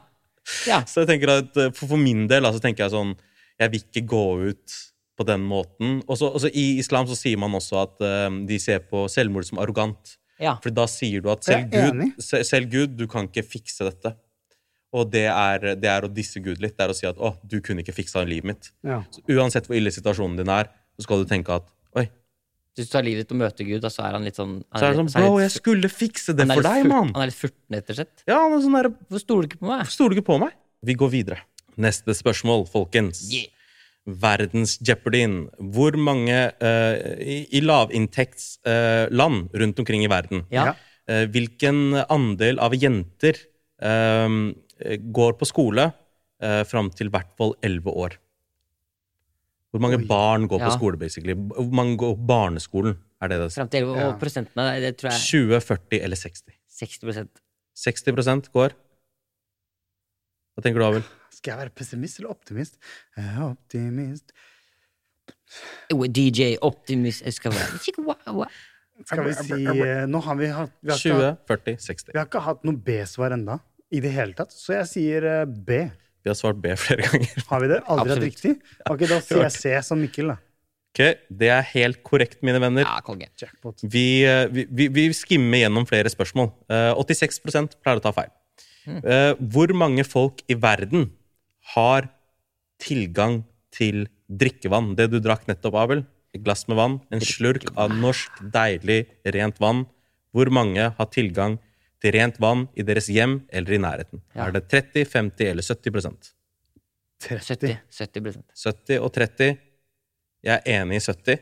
Speaker 2: Så jeg tenker at eh, for, for min del altså, tenker jeg sånn Jeg vil ikke gå ut på den måten. Og så- og så I islam så sier man også at eh, de ser på selvmord som arrogant.
Speaker 3: Ja.
Speaker 2: For da sier du at
Speaker 3: Jeg
Speaker 2: selv
Speaker 3: er
Speaker 2: Gud,
Speaker 3: enig.
Speaker 2: se- selv Gud, du kan ikke fikse dette. Og det er, det er å disse Gud litt. Det er å si at 'Å, du kunne ikke fiksa livet mitt'.
Speaker 4: Ja.
Speaker 2: Så uansett hvor ille situasjonen din er, så skal du tenke at Oi.
Speaker 3: Hvis du tar livet ditt og møter Gud, da, så er han litt sånn han
Speaker 2: Så er det
Speaker 3: litt-
Speaker 2: sånn, bro,
Speaker 3: litt
Speaker 2: jeg
Speaker 3: fu-
Speaker 2: skulle fikse det
Speaker 3: han er
Speaker 2: for
Speaker 3: litt
Speaker 2: deg,
Speaker 3: furt-
Speaker 2: mann.
Speaker 3: Han er litt furten, rett og slett.
Speaker 2: Ja, han er sånn der,
Speaker 3: Hvorfor stoler du ikke på meg?
Speaker 2: Stoler du ikke på meg? Vi går videre. Neste spørsmål, folkens. Verdens-jeopardyen. Hvor mange eh, i, i lavinntektsland rundt omkring i verden
Speaker 8: Ja.
Speaker 2: eh, Hvilken andel av jenter eh, går på skole uh, fram til hvert fall elleve år? Hvor mange barn går
Speaker 3: Ja.
Speaker 2: på skole, basically? Hvor mange går på barneskolen? Er det det?
Speaker 3: Frem til 11 og prosentene, det tror jeg
Speaker 2: 20, 40 eller 60?
Speaker 3: 60
Speaker 2: 60 går. Hva tenker du, Abel?
Speaker 4: Skal jeg være pessimist eller optimist? Jeg er optimist.
Speaker 3: Jo, Oh, DJ Optimist jeg skal være Ikke hva- hva-
Speaker 4: Skal vi si eh, Nå har vi hatt vi har ikke
Speaker 2: 20,
Speaker 4: hatt-
Speaker 2: 40, 60.
Speaker 4: Vi har ikke hatt noe B-svar enda i det hele tatt, så jeg sier eh, B.
Speaker 2: Vi har svart B flere ganger.
Speaker 4: Har vi det? Aldri
Speaker 2: Absolutt.
Speaker 4: hatt riktig? Ok, da sier jeg C som Mikkel, da.
Speaker 2: Ok, Det er helt korrekt, mine venner. Vi, eh, vi, vi, vi skimmer gjennom flere spørsmål. Eh, 86 pleier å ta feil.
Speaker 8: Mm.
Speaker 2: Eh, hvor mange folk i verden har tilgang til drikkevann? Det du drakk nettopp, Abel. Et glass med vann. En slurk av norsk, deilig, rent vann. Hvor mange har tilgang til rent vann i deres hjem eller i nærheten?
Speaker 3: Ja.
Speaker 2: Er det 30, 50 eller 70
Speaker 3: 70, 70
Speaker 2: 70 og 30. Jeg er enig i 70.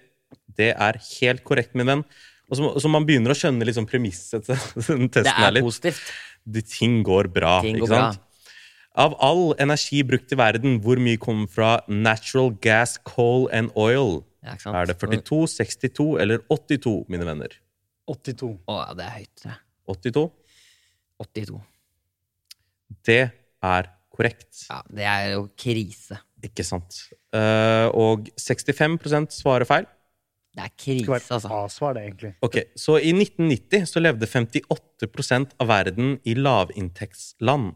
Speaker 2: Det er helt korrekt, min venn. Og så, så man begynner å skjønne liksom premisset til den testen.
Speaker 3: Det er
Speaker 2: her litt.
Speaker 3: positivt.
Speaker 2: De, ting går bra.
Speaker 3: Ting går
Speaker 2: ikke sant? Av all energi brukt i verden, hvor mye kommer fra natural gas, coal and oil?
Speaker 3: Ja, ikke sant?
Speaker 2: er det 42, 62 eller 82, mine venner?
Speaker 4: 82.
Speaker 3: Å, ja, det er høyt. det.
Speaker 2: 82?
Speaker 3: 82.
Speaker 2: Det er korrekt.
Speaker 3: Ja, det er jo krise.
Speaker 2: Ikke sant. Eh, og 65 svarer feil.
Speaker 3: Det er krise, altså.
Speaker 4: A-svar, det, egentlig.
Speaker 2: Ok, Så i 1990 så levde 58 av verden i lavinntektsland.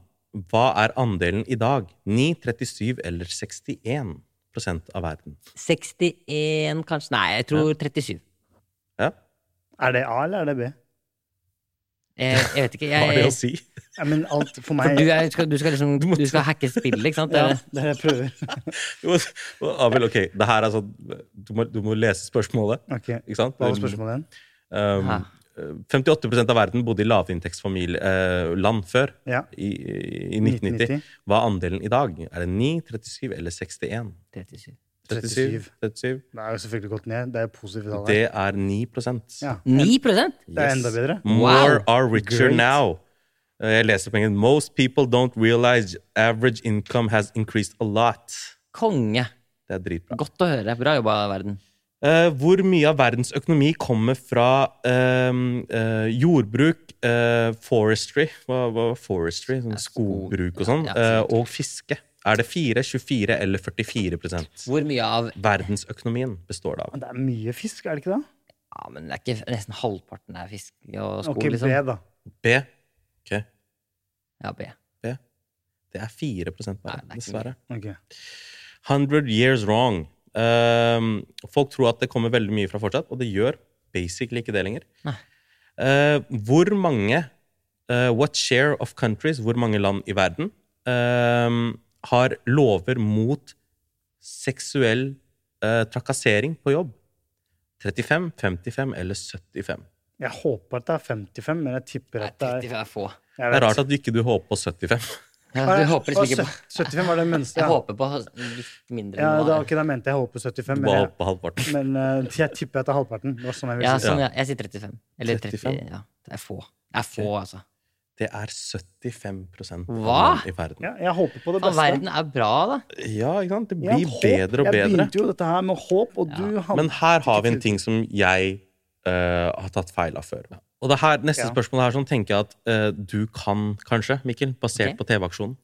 Speaker 2: Hva er andelen i dag? 9, 37 eller 61 prosent av verden?
Speaker 3: 61, kanskje? Nei, jeg tror 37.
Speaker 2: Ja.
Speaker 4: Er det A eller er det B?
Speaker 3: Jeg, jeg vet ikke. Jeg,
Speaker 4: Hva er det å si? Ja, men alt for meg
Speaker 3: For du, er, skal, du skal liksom Du skal hacke spillet, ikke sant?
Speaker 4: Ja, det er det jeg prøver.
Speaker 2: Du må, og Abel, ok, det her er sånn Du må, du må lese spørsmålet.
Speaker 4: Ok,
Speaker 2: Ikke sant?
Speaker 4: hva var spørsmålet igjen?
Speaker 2: Um,
Speaker 4: Hæ?
Speaker 2: 58 av verden bodde i lavinntektsland før,
Speaker 4: Ja.
Speaker 2: i, i 1990. Hva er andelen i dag? Er det 9, 37 eller 61?
Speaker 3: 37.
Speaker 2: 37. 37.
Speaker 4: Det er jo selvfølgelig gått ned. Det er jo positive tall.
Speaker 2: Det er 9 prosent.
Speaker 4: Ja.
Speaker 3: 9 prosent?
Speaker 4: Det er enda bedre.
Speaker 3: Mm.
Speaker 2: More are richer
Speaker 4: Great.
Speaker 2: now. Eh, Jeg leser på engelsk. Most people don't realize average income has increased a lot.
Speaker 3: Konge.
Speaker 2: Det er dritbra.
Speaker 3: Godt å høre. Bra jobba, verden.
Speaker 2: Eh, hvor mye av verdens økonomi kommer fra eh, eh, jordbruk, eh, forestry hva, hva var forestry? Sånn skogbruk og sånn. eh, og fiske. Er det 4, 24 eller 44 prosent?
Speaker 3: Hvor mye av
Speaker 2: Verdensøkonomien består det av.
Speaker 4: Det er mye fisk, er det ikke det?
Speaker 3: Ja, men det er ikke nesten halvparten er fisk og sko,
Speaker 4: Ok,
Speaker 3: liksom.
Speaker 4: B, da.
Speaker 2: B. Ok.
Speaker 3: Ja, B.
Speaker 2: B. Det er 4 bare, dessverre.
Speaker 4: Ok.
Speaker 2: 100 years wrong. Ehm, folk tror at det kommer veldig mye fra fortsatt, og det gjør basically ikke det lenger.
Speaker 3: Nei.
Speaker 2: Eh, hvor mange eh, What share of countries, hvor mange land i verden, ehm, har lover mot seksuell eh, trakassering på jobb? 35, 55 eller 75?
Speaker 4: Jeg håper at det er 55, men jeg tipper at det er
Speaker 3: 35 er få.
Speaker 4: Jeg
Speaker 2: Det
Speaker 4: vet.
Speaker 2: er rart at du ikke du håper på 75.
Speaker 3: Ja,
Speaker 4: Ah,
Speaker 3: du
Speaker 4: ja.
Speaker 3: håper liksom
Speaker 4: Ah,
Speaker 3: ikke på
Speaker 4: søt- 75 var det minste,
Speaker 3: Jeg
Speaker 4: ja.
Speaker 3: håper på litt mindre
Speaker 4: ja,
Speaker 3: enn
Speaker 4: da,
Speaker 3: det var.
Speaker 4: ok, da mente jeg håper 75, men,
Speaker 2: Bare
Speaker 4: jeg,
Speaker 2: håper på halvparten.
Speaker 4: men eh, jeg tipper at det er halvparten. Det var sånn jeg ville
Speaker 3: Ja,
Speaker 4: si.
Speaker 3: sånn, ja. Jeg sier 35. Eller 30,
Speaker 2: 35.
Speaker 3: ja. Det er få. Det er få, altså.
Speaker 2: Det er 75 av
Speaker 3: Hva?
Speaker 2: land i verden.
Speaker 4: Ja, jeg håper på det
Speaker 3: Faen,
Speaker 4: beste.
Speaker 3: verden er bra, da.
Speaker 2: Ja, ikke sant? Det
Speaker 4: Jeg
Speaker 2: blir
Speaker 4: hadde håp.
Speaker 2: bedre og
Speaker 4: Jeg
Speaker 2: bedre.
Speaker 4: begynte jo dette her med håp, og du hadde
Speaker 2: Men her har vi en ting som jeg eh, har tatt feil av før. Og det her, neste
Speaker 4: Ja.
Speaker 2: spørsmål her sånn, tenker jeg at eh, du kan kanskje, Mikkel, basert
Speaker 3: Ok.
Speaker 2: på TV-aksjonen.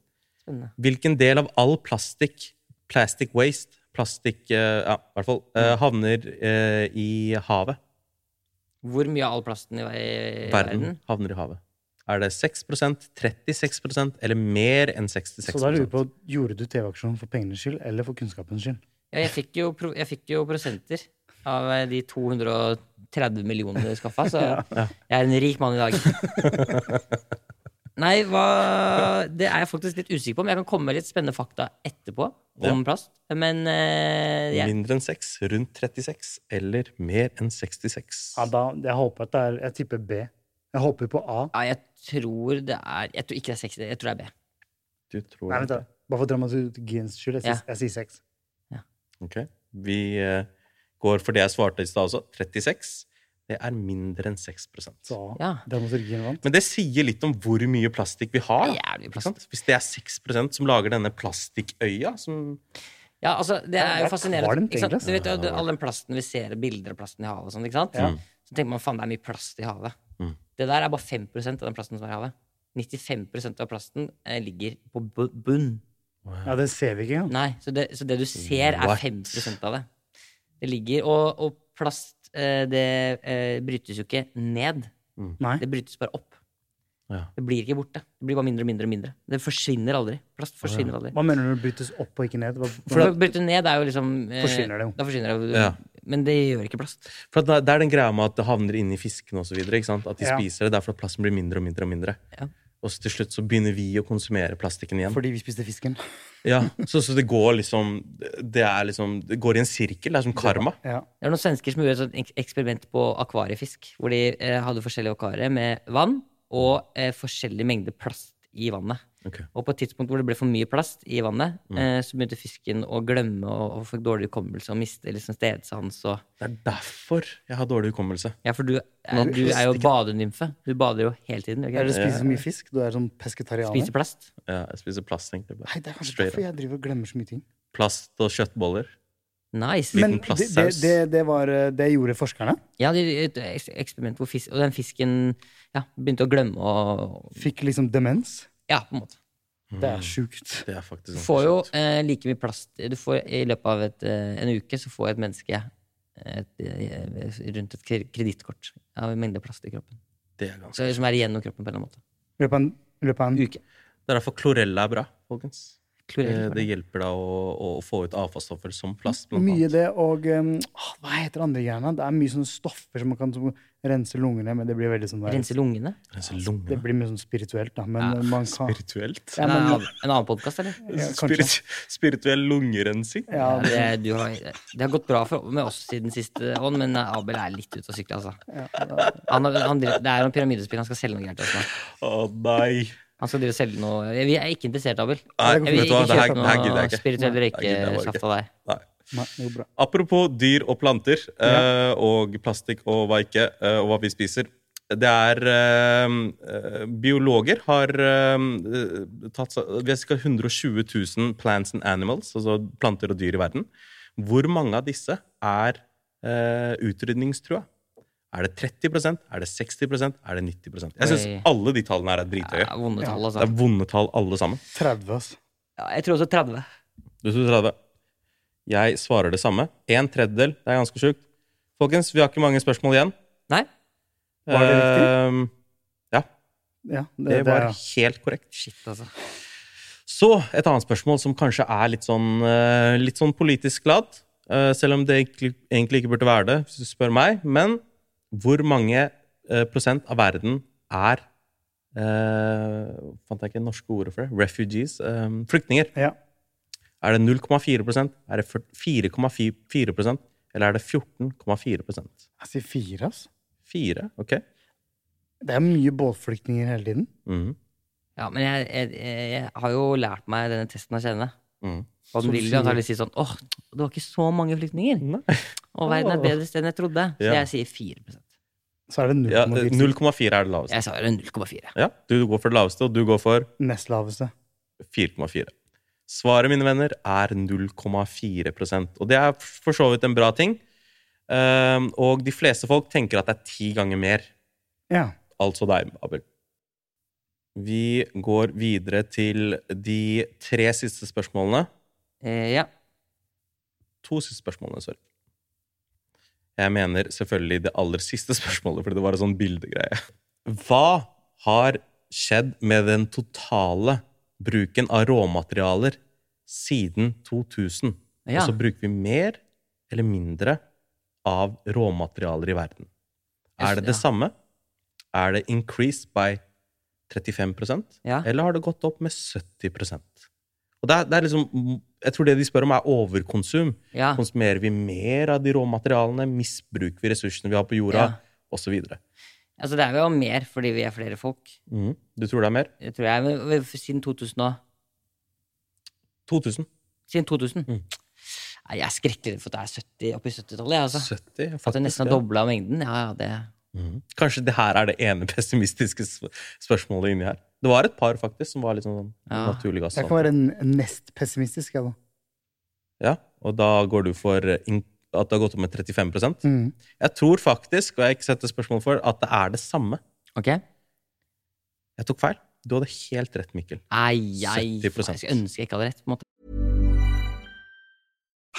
Speaker 3: Spennende.
Speaker 2: Hvilken del av all plastikk, plastic waste, plastikk eh, Ja, i hvert fall,
Speaker 3: Mm.
Speaker 2: eh, havner eh, i havet?
Speaker 3: Hvor mye av all plasten i ver-
Speaker 2: Verden
Speaker 3: verden?
Speaker 2: havner i havet. Er det 6 36 eller mer enn 66
Speaker 4: Så da lurer jeg på, gjorde du TV-aksjonen for pengenes skyld, eller for kunnskapens skyld?
Speaker 3: Ja, jeg fikk jo, pro- jeg fikk jo prosenter av eh, de 230 millionene du skaffa, så jeg er en rik mann i dag. Nei, hva Det er jeg faktisk litt usikker på, men jeg kan komme med litt spennende fakta etterpå
Speaker 2: Ja.
Speaker 3: om plast. Men eh, jeg,
Speaker 2: Mindre enn 6, rundt 36 eller mer enn 66.
Speaker 4: Ja, da, jeg håper at det er Jeg tipper B. Jeg håper på A.
Speaker 3: ja, jeg tror det er Jeg tror ikke det er 60, jeg tror det er B.
Speaker 2: Du tror
Speaker 4: Nei, vent, da. Bare for dramaturgiens skyld. Jeg sier-
Speaker 3: Ja.
Speaker 4: jeg sier 6.
Speaker 2: Ok. Vi eh, går for det jeg svarte i stad også. 36. Det er mindre enn 6
Speaker 4: Så
Speaker 3: Ja.
Speaker 4: dramaturgien vant.
Speaker 2: Men det sier litt om hvor mye plastikk vi har. da.
Speaker 3: Jævlig plast.
Speaker 2: Ikke sant? Hvis det er 6 som lager denne plastikkøya som
Speaker 3: Ja, altså, det
Speaker 4: det
Speaker 3: er
Speaker 4: er
Speaker 3: jo fascinerende.
Speaker 4: kvalmt,
Speaker 3: Ikke sant?
Speaker 4: egentlig,
Speaker 3: Du vet jo, det- all den plasten vi ser, bilder av plasten i havet og sånn, ikke sant? Så tenker man, faen, det er mye plast i havet.
Speaker 2: Mm.
Speaker 3: Det der er bare 5% av den plasten som er i havet. 95% av plasten eh, ligger på bu- bunn.
Speaker 4: Ja, det ser vi ikke engang.
Speaker 3: Nei, så det, så det du ser er
Speaker 2: What?
Speaker 3: 5% av det. Det ligger, og, og plast, eh, det eh, brytes jo ikke ned.
Speaker 4: Nei.
Speaker 3: Det brytes bare opp.
Speaker 2: Mm. Ja.
Speaker 3: Det blir ikke borte. Det blir bare mindre og mindre og mindre. Det forsvinner aldri. Plast forsvinner aldri.
Speaker 4: Hva mener du med brytes opp og ikke ned? Hva,
Speaker 3: For å bryte ned er jo liksom eh,
Speaker 4: Forsvinner det jo.
Speaker 3: Da forsvinner det jo.
Speaker 2: Ja.
Speaker 3: Men det gjør ikke plast.
Speaker 2: For at da- Det er den greia med at det havner inni fiskene osv. At de
Speaker 4: Ja.
Speaker 2: spiser det. Det er fordi plasten blir mindre og mindre. Og mindre.
Speaker 3: Ja.
Speaker 2: Og så til slutt så begynner vi å konsumere plastikken igjen.
Speaker 4: fordi vi spiste fisken.
Speaker 2: Ja, så, så det går liksom Det er liksom Det går i en sirkel. Det er som karma.
Speaker 4: Ja.
Speaker 3: Det er noen svensker som gjorde et sånt ek- eksperiment på akvariefisk. Hvor de eh, hadde forskjellige akvarier med vann og eh, forskjellig mengde plast i vannet.
Speaker 2: Ok. Mm.
Speaker 3: Og på et tidspunkt hvor det ble for mye plast i vannet, eh, så begynte fisken å glemme og, og fikk dårlig hukommelse og miste liksom stedsans og
Speaker 2: Det er derfor jeg har dårlig hukommelse.
Speaker 3: Ja, for du, er- du er jo badenymfe. Du bader jo hele tiden. gjør
Speaker 4: Eller
Speaker 3: du Ikke?
Speaker 4: spiser så mye fisk. Du er sånn pesketarianer.
Speaker 3: Spiser plast.
Speaker 2: Ja, jeg spiser plast, egentlig. bare.
Speaker 4: Nei, det er kanskje
Speaker 2: Straight
Speaker 4: derfor
Speaker 2: up.
Speaker 4: jeg driver og glemmer så mye ting.
Speaker 2: Plast og kjøttboller.
Speaker 3: Nice.
Speaker 2: Liten
Speaker 4: Men det, det,
Speaker 2: plastsaus.
Speaker 4: det, det var eh, det gjorde forskerne.
Speaker 3: Ja, de, et eks- eksperiment hvor fisk, og den fisken ja, begynte å glemme og
Speaker 4: Fikk liksom demens.
Speaker 3: Ja, på en måte.
Speaker 2: Mm.
Speaker 4: Det er sjukt.
Speaker 2: Det er faktisk
Speaker 3: Du
Speaker 2: ganske
Speaker 3: får jo
Speaker 2: sant.
Speaker 3: eh, like mye plast du får, I løpet av et, eh, en uke så får et menneske et, eh, rundt et kre- kredittkort av en mengde plast i kroppen.
Speaker 2: Det er ganske
Speaker 3: Så, som er igjen av kroppen på en eller annen måte.
Speaker 4: I løpet av en- i løpet av en
Speaker 3: Uke.
Speaker 2: Det er derfor klorella er bra, folkens.
Speaker 4: Klorella er
Speaker 2: Eh, Det hjelper da å, å få ut avfallsstoffer som plast. blant annet.
Speaker 4: Mye det, og um, ah, Hva heter andre greiene? Det er mye sånne stoffer som man kan som, rense lungene men det blir veldig sånn der-
Speaker 3: Rense lungene?
Speaker 2: Rense lungene?
Speaker 4: Det blir mye sånn spirituelt, da. Men
Speaker 3: Ja,
Speaker 4: man kan,
Speaker 2: spirituelt?
Speaker 4: Ja, men,
Speaker 3: en, annen- en annen podkast, eller?
Speaker 4: Ja, kanskje.
Speaker 2: Spirit, spirituell lungerensing.
Speaker 3: Ja, det, du har, det har gått bra for, med oss siden siste ånd, men eh, Abel er litt ute å sykle, altså. Han, har- han, driver- det er en pyramidespill. Han skal selge noe greier til oss nå.
Speaker 2: Å nei.
Speaker 3: Han skal drive og selge noe Jeg, vi er ikke interessert, Abel.
Speaker 2: Nei,
Speaker 3: jeg vil
Speaker 2: vet du
Speaker 3: ikke
Speaker 2: hva, det
Speaker 3: kjøpe
Speaker 2: her- det her gidder
Speaker 3: noe
Speaker 2: jeg ikke.
Speaker 3: spirituell
Speaker 2: Nei, det gidder jeg bare
Speaker 3: røykesaft av deg.
Speaker 4: Nei, det går bra.
Speaker 2: Apropos dyr og planter eh, og plastikk og hva ikke, eh, og hva vi spiser. Det er eh, eh, Biologer har eh, tatt seg- Vi skal 120 000 plants and animals, altså planter og dyr i verden. Hvor mange av disse er eh, utrydningstrua? Er det 30 Er det 60 Er det 90 Jeg syns
Speaker 3: Oi.
Speaker 2: alle de tallene her er drithøye.
Speaker 3: Ja, vonde tall, altså.
Speaker 2: Det er vonde tall, alle sammen.
Speaker 4: 30, ass.
Speaker 3: Ja, jeg tror også 30.
Speaker 2: Du tror 30. Jeg svarer det samme. En tredjedel. Det er ganske sjukt. Folkens, vi har ikke mange spørsmål igjen. Ehm,
Speaker 3: Nei?
Speaker 4: Var det riktig?
Speaker 2: ja.
Speaker 4: Ja, det-
Speaker 2: Det
Speaker 4: det
Speaker 2: var
Speaker 4: er-
Speaker 2: helt korrekt.
Speaker 3: Shit, altså.
Speaker 2: Så et annet spørsmål som kanskje er litt sånn, eh, litt sånn politisk ladd. eh, Selv om det egentlig, egentlig ikke burde være det, hvis du spør meg. Men hvor mange eh, prosent av verden er eh, Fant jeg ikke det norske ordet for det? Refugees? eh, flyktninger.
Speaker 4: Ja.
Speaker 2: Er det 0,4 Er det 4,4 Eller er det 14,4
Speaker 4: Jeg sier fire, ass.
Speaker 2: 4, ok.
Speaker 4: Det er mye båtflyktninger hele tiden.
Speaker 2: Mhm.
Speaker 3: Ja, men jeg, jeg, jeg, jeg har jo lært meg denne testen å kjenne.
Speaker 2: Mhm.
Speaker 3: Og den
Speaker 4: Som
Speaker 3: vil jo
Speaker 4: sier-
Speaker 3: antakelig si sånn åh, det var ikke så mange flyktninger. Og verden er et bedre sted enn jeg trodde. Så
Speaker 2: Ja.
Speaker 3: jeg sier 4
Speaker 4: Så er det
Speaker 2: Ja,
Speaker 4: 0,4.
Speaker 2: eh, 0,4 er det laveste.
Speaker 3: Jeg sa jo 0,4.
Speaker 2: Ja, Du går for det laveste, og du går for
Speaker 4: Nest laveste.
Speaker 2: 4,4. Svaret, mine venner, er 0,4 Og det er for så vidt en bra ting. Ehm, og de fleste folk tenker at det er ti ganger mer.
Speaker 4: Ja.
Speaker 2: Altså deg, Abel. Vi går videre til de tre siste spørsmålene.
Speaker 3: Eh, ja.
Speaker 2: To siste spørsmålene, sorry. Jeg mener selvfølgelig det aller siste spørsmålet, fordi det var en sånn bildegreie. Hva har skjedd med den totale bruken av råmaterialer siden 2000?
Speaker 3: Ja.
Speaker 2: Altså bruker vi mer eller mindre av råmaterialer i verden? Er det det
Speaker 3: Ja.
Speaker 2: samme? Er det increased by 35
Speaker 3: Ja.
Speaker 2: eller har det gått opp med 70 Og det er, det er liksom, Jeg tror det de spør om, er overkonsum.
Speaker 3: Ja.
Speaker 2: Konsumerer vi mer av de råmaterialene? Misbruker vi ressursene vi har på jorda?
Speaker 3: Ja.
Speaker 2: Og så videre.
Speaker 3: Altså, det er jo mer fordi vi er flere folk.
Speaker 2: Mhm. Du tror det er mer?
Speaker 3: Det tror jeg. men- men Siden 2000 og
Speaker 2: 2000?
Speaker 3: Siden 2000. Nei, Jeg er skrekkelig redd for at det er 70 oppi 70-tallet. jeg, Altså.
Speaker 2: 70? ja,
Speaker 3: At det
Speaker 2: faktisk,
Speaker 3: nesten har
Speaker 2: ja.
Speaker 3: dobla mengden. Ja, ja, det
Speaker 2: Mhm. Kanskje det her er det ene pessimistiske sp- spørsmålet inni her. Det var et par faktisk som var litt sånn
Speaker 3: Ja.
Speaker 2: naturlig gass.
Speaker 4: Jeg kan være n- nest pessimistisk, jeg, da.
Speaker 2: Ja, og da går du for in- at det har gått opp med 35
Speaker 4: Mhm.
Speaker 2: Jeg tror faktisk, og jeg har ikke sett det spørsmålet for, at det er det samme.
Speaker 3: Ok?
Speaker 2: Jeg tok feil. Du hadde helt rett, Mikkel.
Speaker 3: Nei, jeg,
Speaker 2: 70%.
Speaker 3: jeg skulle ønske jeg ikke hadde rett. på en måte.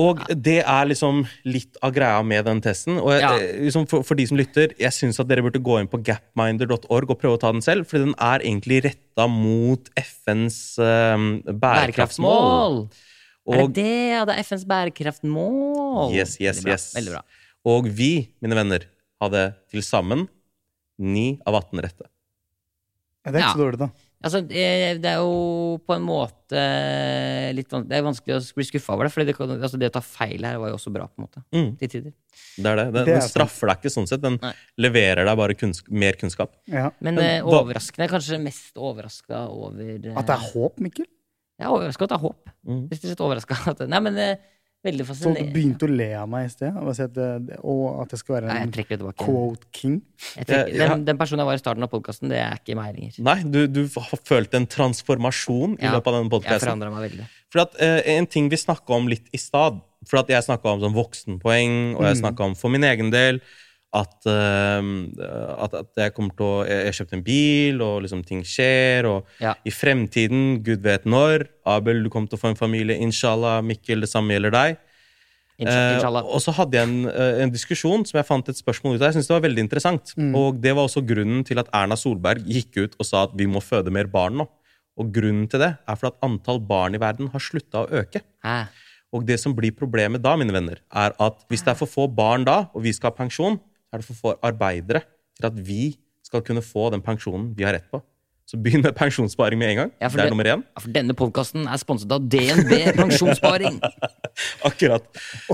Speaker 2: Og det er liksom litt av greia med den testen. Og jeg,
Speaker 3: Ja.
Speaker 2: eh, liksom for, for de som lytter, jeg syns at dere burde gå inn på gapminder.org og prøve å ta den selv, for den er egentlig retta mot FNs eh,
Speaker 3: Bærekraftsmål!
Speaker 2: bærekraftsmål.
Speaker 3: er
Speaker 2: Og-
Speaker 3: det det? Ja, det er FNs bærekraftmål.
Speaker 2: Yes,
Speaker 3: Veldig
Speaker 2: yes,
Speaker 3: bra.
Speaker 2: yes.
Speaker 3: Veldig bra.
Speaker 2: Og vi, mine venner, hadde til sammen Ni av 18 rette.
Speaker 4: Ja, det er ikke så dårlig, da.
Speaker 3: Altså, eh, det er jo på en måte eh, litt vanskelig, det er vanskelig å bli skuffa over det. For det, kan- altså, det å ta feil her var jo også bra, på en måte.
Speaker 2: Mm.
Speaker 3: Til tider.
Speaker 2: Det er det. Den,
Speaker 3: Det er
Speaker 2: den straffer deg ikke sånn sett. Den leverer deg bare kunns mer kunnskap.
Speaker 3: Men eh,
Speaker 2: hva-
Speaker 3: overraskende, kanskje mest overraska over eh,
Speaker 4: At det er håp, Mikkel?
Speaker 3: Jeg er overraska at det er håp.
Speaker 2: Mm.
Speaker 3: Rett og slett overraska. Nei, men eh, veldig
Speaker 4: Sånn at du
Speaker 3: fascinerende.
Speaker 4: begynte å le av meg i sted? Og, si at det, og at jeg skal være
Speaker 3: Nei,
Speaker 4: en
Speaker 3: jeg trekker det tilbake.
Speaker 4: quote king?
Speaker 3: Jeg tenker, den, den personen jeg var i starten av podkasten, det er ikke meg lenger.
Speaker 2: Nei, du, du har følt en transformasjon i
Speaker 3: Ja,
Speaker 2: løpet av denne
Speaker 3: Jeg
Speaker 2: podkasten.
Speaker 3: forandra meg veldig.
Speaker 2: For at, eh, en ting vi snakka om litt i stad For at jeg snakka om sånn voksenpoeng, og
Speaker 3: Mm.
Speaker 2: jeg snakka om for min egen del at, eh, at, at jeg kommer til å Jeg, jeg kjøpte en bil, og liksom ting skjer, og i fremtiden, gud vet når Abel, du kommer til å få en familie, inshallah. Mikkel, det samme gjelder deg.
Speaker 3: Insha- inshallah.
Speaker 2: Eh, og så hadde jeg en, eh, en diskusjon som jeg fant et spørsmål ut av. Jeg synes det var veldig interessant.
Speaker 3: Mm.
Speaker 2: Og det var også grunnen til at Erna Solberg gikk ut og sa at vi må føde mer barn nå. Og grunnen til det er for at antall barn i verden har slutta å øke. Og det som blir problemet da, mine venner, er at hvis det er for få barn da, og vi skal ha pensjon, så er det for få arbeidere til at vi skal kunne få den pensjonen vi har rett på. Så begynn med pensjonssparing med en gang.
Speaker 3: Ja, for
Speaker 2: det er
Speaker 3: det-
Speaker 2: nummer én.
Speaker 3: Ja, for denne podkasten er sponset av DNB Pensjonssparing.
Speaker 2: Akkurat.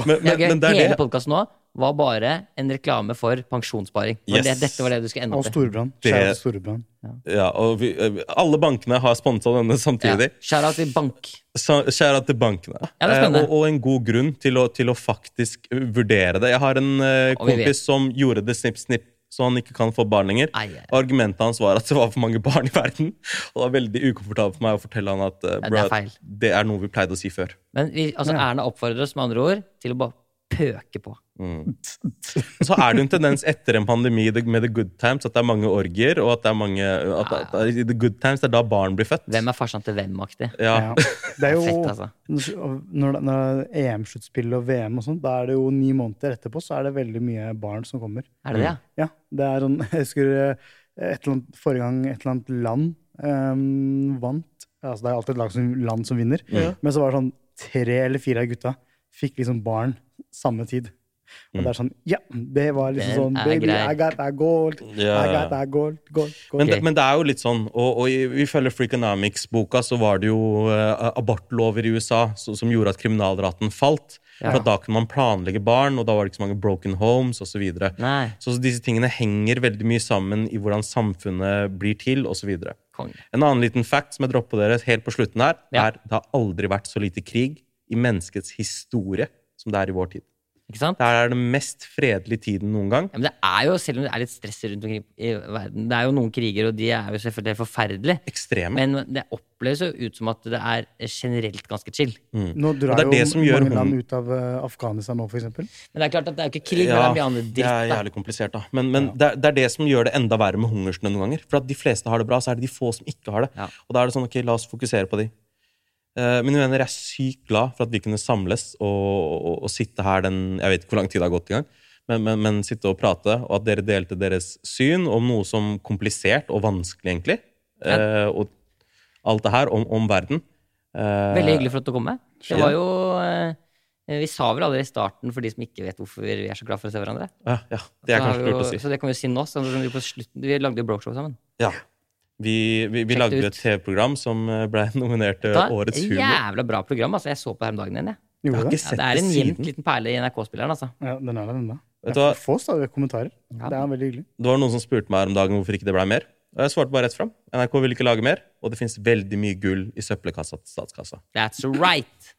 Speaker 2: Men, men,
Speaker 3: Ja, ok,
Speaker 2: men det er
Speaker 3: Hele
Speaker 2: det.
Speaker 3: podkasten nå var bare en reklame for pensjonssparing. For
Speaker 2: Yes.
Speaker 3: det, dette var det du skulle ende
Speaker 4: Og
Speaker 3: opp i.
Speaker 4: Storbrann.
Speaker 2: Det-
Speaker 4: Kjære Storbrann.
Speaker 2: Ja, og vi, eh, alle bankene har sponsa denne samtidig.
Speaker 3: Skjæra til bank.
Speaker 2: Skjæra til bankene.
Speaker 3: Ja, det er
Speaker 2: Eh,
Speaker 3: spennende.
Speaker 2: og, og en god grunn til å, til å faktisk eh, vurdere det. Jeg har en eh,
Speaker 3: Og vi vet.
Speaker 2: kompis som gjorde det snipp-snipp, så han ikke kan få barn lenger. Og Argumentet hans var at det var for mange barn i verden. Og det var veldig ukomfortabelt for meg å fortelle han at
Speaker 3: Ja,
Speaker 2: eh,
Speaker 3: det er
Speaker 2: bro,
Speaker 3: feil.
Speaker 2: det er noe vi pleide å si før.
Speaker 3: Men vi, altså, Erna oppfordrer oss med andre ord til å bare pøke på.
Speaker 2: Mm. Så er det jo en tendens etter en pandemi det- med the good times at det er mange orgier, og at det er mange at, at, at, i the good times det er da barn blir født.
Speaker 3: Hvem Ah. er farsan til hvem-aktig?
Speaker 2: Ja.
Speaker 4: Det er jo
Speaker 3: Fett, altså.
Speaker 4: Når, når EM-sluttspill og VM og sånt, da er det jo ni måneder etterpå, så er det veldig mye barn som kommer.
Speaker 3: Er det det,
Speaker 2: Mm.
Speaker 3: ja?
Speaker 4: Ja. Det er sånn Jeg husker eh, et eller annet, forrige gang et eller annet land eh, vant. Altså, det er alltid et lag som, land som vinner.
Speaker 3: Ja.
Speaker 2: Mm.
Speaker 4: Men så var det sånn tre eller fire av gutta fikk liksom barn samme tid. Og det er
Speaker 2: Mm.
Speaker 4: sånn Ja, det var liksom
Speaker 2: Den
Speaker 4: sånn
Speaker 2: er
Speaker 4: Baby,
Speaker 2: grei.
Speaker 4: I got that gold.
Speaker 2: Ja, ja.
Speaker 4: I got that gold, gold, gold.
Speaker 2: Men, det, men det er jo litt sånn, og, og i- ifølge Freakonomics-boka så var det jo eh, abortlover i USA så, som gjorde at kriminalraten falt.
Speaker 3: Ja.
Speaker 2: For at da kunne man planlegge barn, og da var det ikke så mange broken homes osv. Så, videre.
Speaker 3: Nei.
Speaker 2: så så disse tingene henger veldig mye sammen i hvordan samfunnet blir til osv.
Speaker 3: Konge.
Speaker 2: En annen liten fact som jeg dropper på dere helt på slutten her, er det har aldri vært så lite krig i menneskets historie som det er i vår tid.
Speaker 3: Ikke sant?
Speaker 2: Det er den mest fredelige tiden noen gang.
Speaker 3: Ja, men det er jo, Selv om det er litt stress rundt omkring i verden Det er jo noen kriger, og de er jo selvfølgelig forferdelige.
Speaker 2: Ekstreme.
Speaker 3: Men det oppleves jo ut som at det er generelt ganske chill.
Speaker 4: Nå
Speaker 2: Og
Speaker 4: drar
Speaker 2: det er
Speaker 4: jo
Speaker 2: det som gjør
Speaker 4: mange land
Speaker 2: hun-
Speaker 4: ut av eh, Afghanistan nå, for eksempel.
Speaker 3: Men det er klart at det er jo ikke krig, men det er mye annet
Speaker 2: det
Speaker 3: dritt.
Speaker 2: er jævlig komplisert, da. Men, men det, er, det er det som gjør det enda verre med hungersnød noen ganger. For at de fleste har det bra, så er det de få som ikke har det. Og da er det sånn, ok, la oss fokusere på de. Eh, mine venner, jeg er sykt glad for at vi kunne samles og, og, og sitte her den Jeg vet ikke hvor lang tid det har gått engang, men, men, men sitte og prate, og at dere delte deres syn om noe som komplisert og vanskelig, egentlig. Eh, og alt det her om, om verden. Eh,
Speaker 3: Veldig hyggelig for at du kom med. Det
Speaker 2: Ja.
Speaker 3: var jo eh, Vi sa vel aldri i starten, for de som ikke vet hvorfor vi er så glad for å se hverandre.
Speaker 2: Ja, Eh, ja, det er
Speaker 3: Så har
Speaker 2: kanskje
Speaker 3: vi
Speaker 2: lurt å
Speaker 3: jo-
Speaker 2: si.
Speaker 3: Så det kan vi jo si nå. Så vi, på slutten, vi lagde jo brokshow sammen.
Speaker 2: Ja. Vi, vi, vi
Speaker 3: Sjekk
Speaker 2: lagde
Speaker 3: det
Speaker 2: jo et TV-program som eh, ble nominert til
Speaker 3: Da,
Speaker 2: Årets
Speaker 3: et
Speaker 2: humor.
Speaker 3: jævla bra program. altså. Jeg så på det her om dagen igjen. jeg.
Speaker 2: Jeg har ikke
Speaker 3: Ja,
Speaker 2: sett
Speaker 3: det er en
Speaker 2: det
Speaker 3: jevnt
Speaker 2: siden.
Speaker 3: liten perle i NRK-spilleren, altså.
Speaker 4: Ja, den er der ennå.
Speaker 2: Vet du hva?
Speaker 4: Jeg får stadig kommentarer. Det er veldig hyggelig.
Speaker 2: Det var noen som spurte meg her om dagen hvorfor ikke det ble mer. Og jeg svarte bare rett fram. NRK vil ikke lage mer, og det fins veldig mye gull i søppelkassa til statskassa.
Speaker 3: That's right.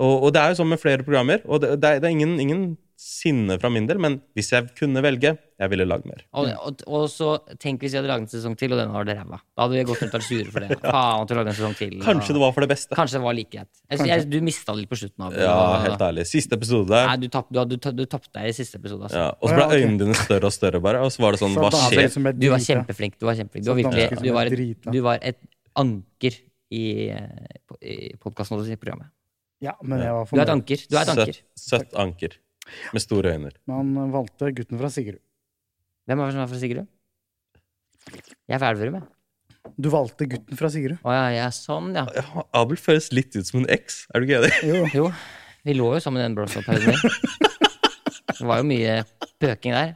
Speaker 2: Og, og det er jo sånn med flere programmer, og det, det er, det er ingen, ingen sinne fra min del, men hvis jeg kunne velge, jeg ville lage mer.
Speaker 3: Og, og, og så tenk hvis vi hadde laget en sesong til, og den var det ræva. Da hadde vi gått rundt og vært sure for det. Faen at du lagde en sesong til.
Speaker 2: Kanskje det var for det beste.
Speaker 3: Kanskje det var like greit. Jeg,
Speaker 2: Kanskje.
Speaker 3: jeg, du mista det litt på slutten. Av,
Speaker 2: Ja, helt ærlig. Siste episode der.
Speaker 3: Nei, du tap- du, du, du tapte deg i siste episode. Altså.
Speaker 2: Ja, og så ble øynene dine større og større, bare. Og så var det sånn, hva
Speaker 3: Altså,
Speaker 2: skjer?
Speaker 3: Du var kjempeflink. Du var, kjempeflink. Du var,
Speaker 2: Som
Speaker 3: virkelig, du
Speaker 2: dansker som ble
Speaker 3: var, et,
Speaker 2: drita.
Speaker 3: du var et anker i, eh, på- i podkasten og i programmet.
Speaker 4: Ja, men jeg var
Speaker 3: Du er et
Speaker 4: fornøyd.
Speaker 3: anker. Du er et anker.
Speaker 2: Søtt, søtt anker. Med store øyne.
Speaker 4: Men han valgte gutten fra Sigrud.
Speaker 3: Hvem er det som er fra Sigrud? Jeg er fra Elverum, jeg.
Speaker 4: Du valgte gutten fra Sigrud.
Speaker 3: Å ja, jeg er sånn, ja.
Speaker 2: Abel føles litt ut som en eks. Er du ikke enig?
Speaker 4: Jo.
Speaker 3: Vi lå jo sammen i den blomsterperioden. Det var jo mye pøking der.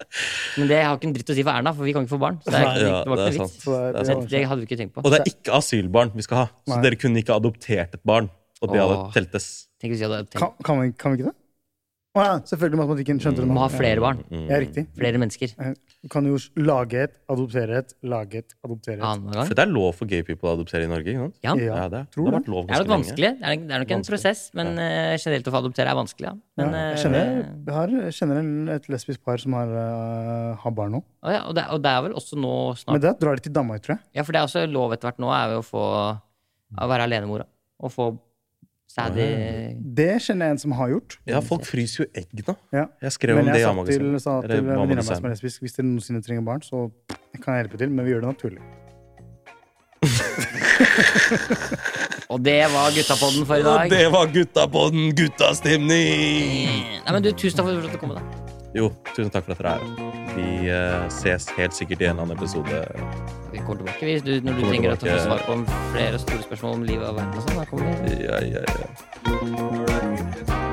Speaker 3: Men det har ikke en dritt å si for Erna, for vi kan ikke få barn. Så det, er ikke,
Speaker 2: Ja,
Speaker 3: det var
Speaker 2: det er
Speaker 3: ikke noe
Speaker 2: sant.
Speaker 3: vits.
Speaker 2: Det er
Speaker 3: Det,
Speaker 2: sant.
Speaker 3: det hadde vi ikke tenkt på.
Speaker 2: Og det er ikke asylbarn vi skal ha. Så
Speaker 4: Nei.
Speaker 2: dere kunne ikke adoptert et barn. Og det hadde
Speaker 3: Åh.
Speaker 2: teltes.
Speaker 3: Tenk hvis vi hadde
Speaker 4: Kan, kan, vi, kan vi ikke det? Å ja, selvfølgelig matematikken. Skjønte du nå?
Speaker 3: Mm. Må ha flere
Speaker 2: Mm,
Speaker 3: barn.
Speaker 4: Ja, riktig.
Speaker 3: Flere mennesker.
Speaker 4: Eh, Du kan jo lage et, adoptere et, lage et, adoptere et.
Speaker 2: For det er lov for gay people å adoptere i Norge, ikke sant?
Speaker 3: Ja.
Speaker 2: ja det, er. det har vært lov
Speaker 3: Det er nok
Speaker 2: ganske lenge.
Speaker 3: vanskelig. Det er, det er nok en prosess, men eh, generelt å få adoptere er vanskelig. Ja. Men,
Speaker 4: ja,
Speaker 3: eh,
Speaker 4: jeg kjenner, jeg har, jeg kjenner en- et lesbisk par som har, eh, har barn nå.
Speaker 3: å ja, og, det, og det er vel også nå
Speaker 4: Men
Speaker 3: snart
Speaker 4: det drar de til Danmark, tror jeg.
Speaker 3: Ja, for det er også lov etter hvert nå er jo å få å være alenemora. Og få sædig
Speaker 4: Det kjenner jeg en som har gjort.
Speaker 2: Ja, folk fryser jo egg nå.
Speaker 4: Ja.
Speaker 2: Jeg skrev om
Speaker 4: men
Speaker 2: det i
Speaker 4: jeg sa
Speaker 2: A-magasinet.
Speaker 4: til, sa til
Speaker 2: Eller
Speaker 4: venninna meg som
Speaker 2: A-magasinet.
Speaker 4: er lesbisk, hvis dere noensinne trenger barn, så kan jeg hjelpe til, men vi gjør det naturlig.
Speaker 3: Og det var guttapodden for i dag.
Speaker 2: Og det var gutta på den guttastemning!
Speaker 3: Nei, men du, Tusen takk for at du kom. da
Speaker 2: Jo, tusen takk for at dere er her. Vi eh, ses helt sikkert i en eller annen episode.
Speaker 3: Vi kommer tilbake hvis du, når du
Speaker 2: Kommer
Speaker 3: trenger å få
Speaker 2: tilbake.
Speaker 3: svar på flere store spørsmål om livet og verden. og sånn, da kommer vi.
Speaker 2: Ja, ja, ja.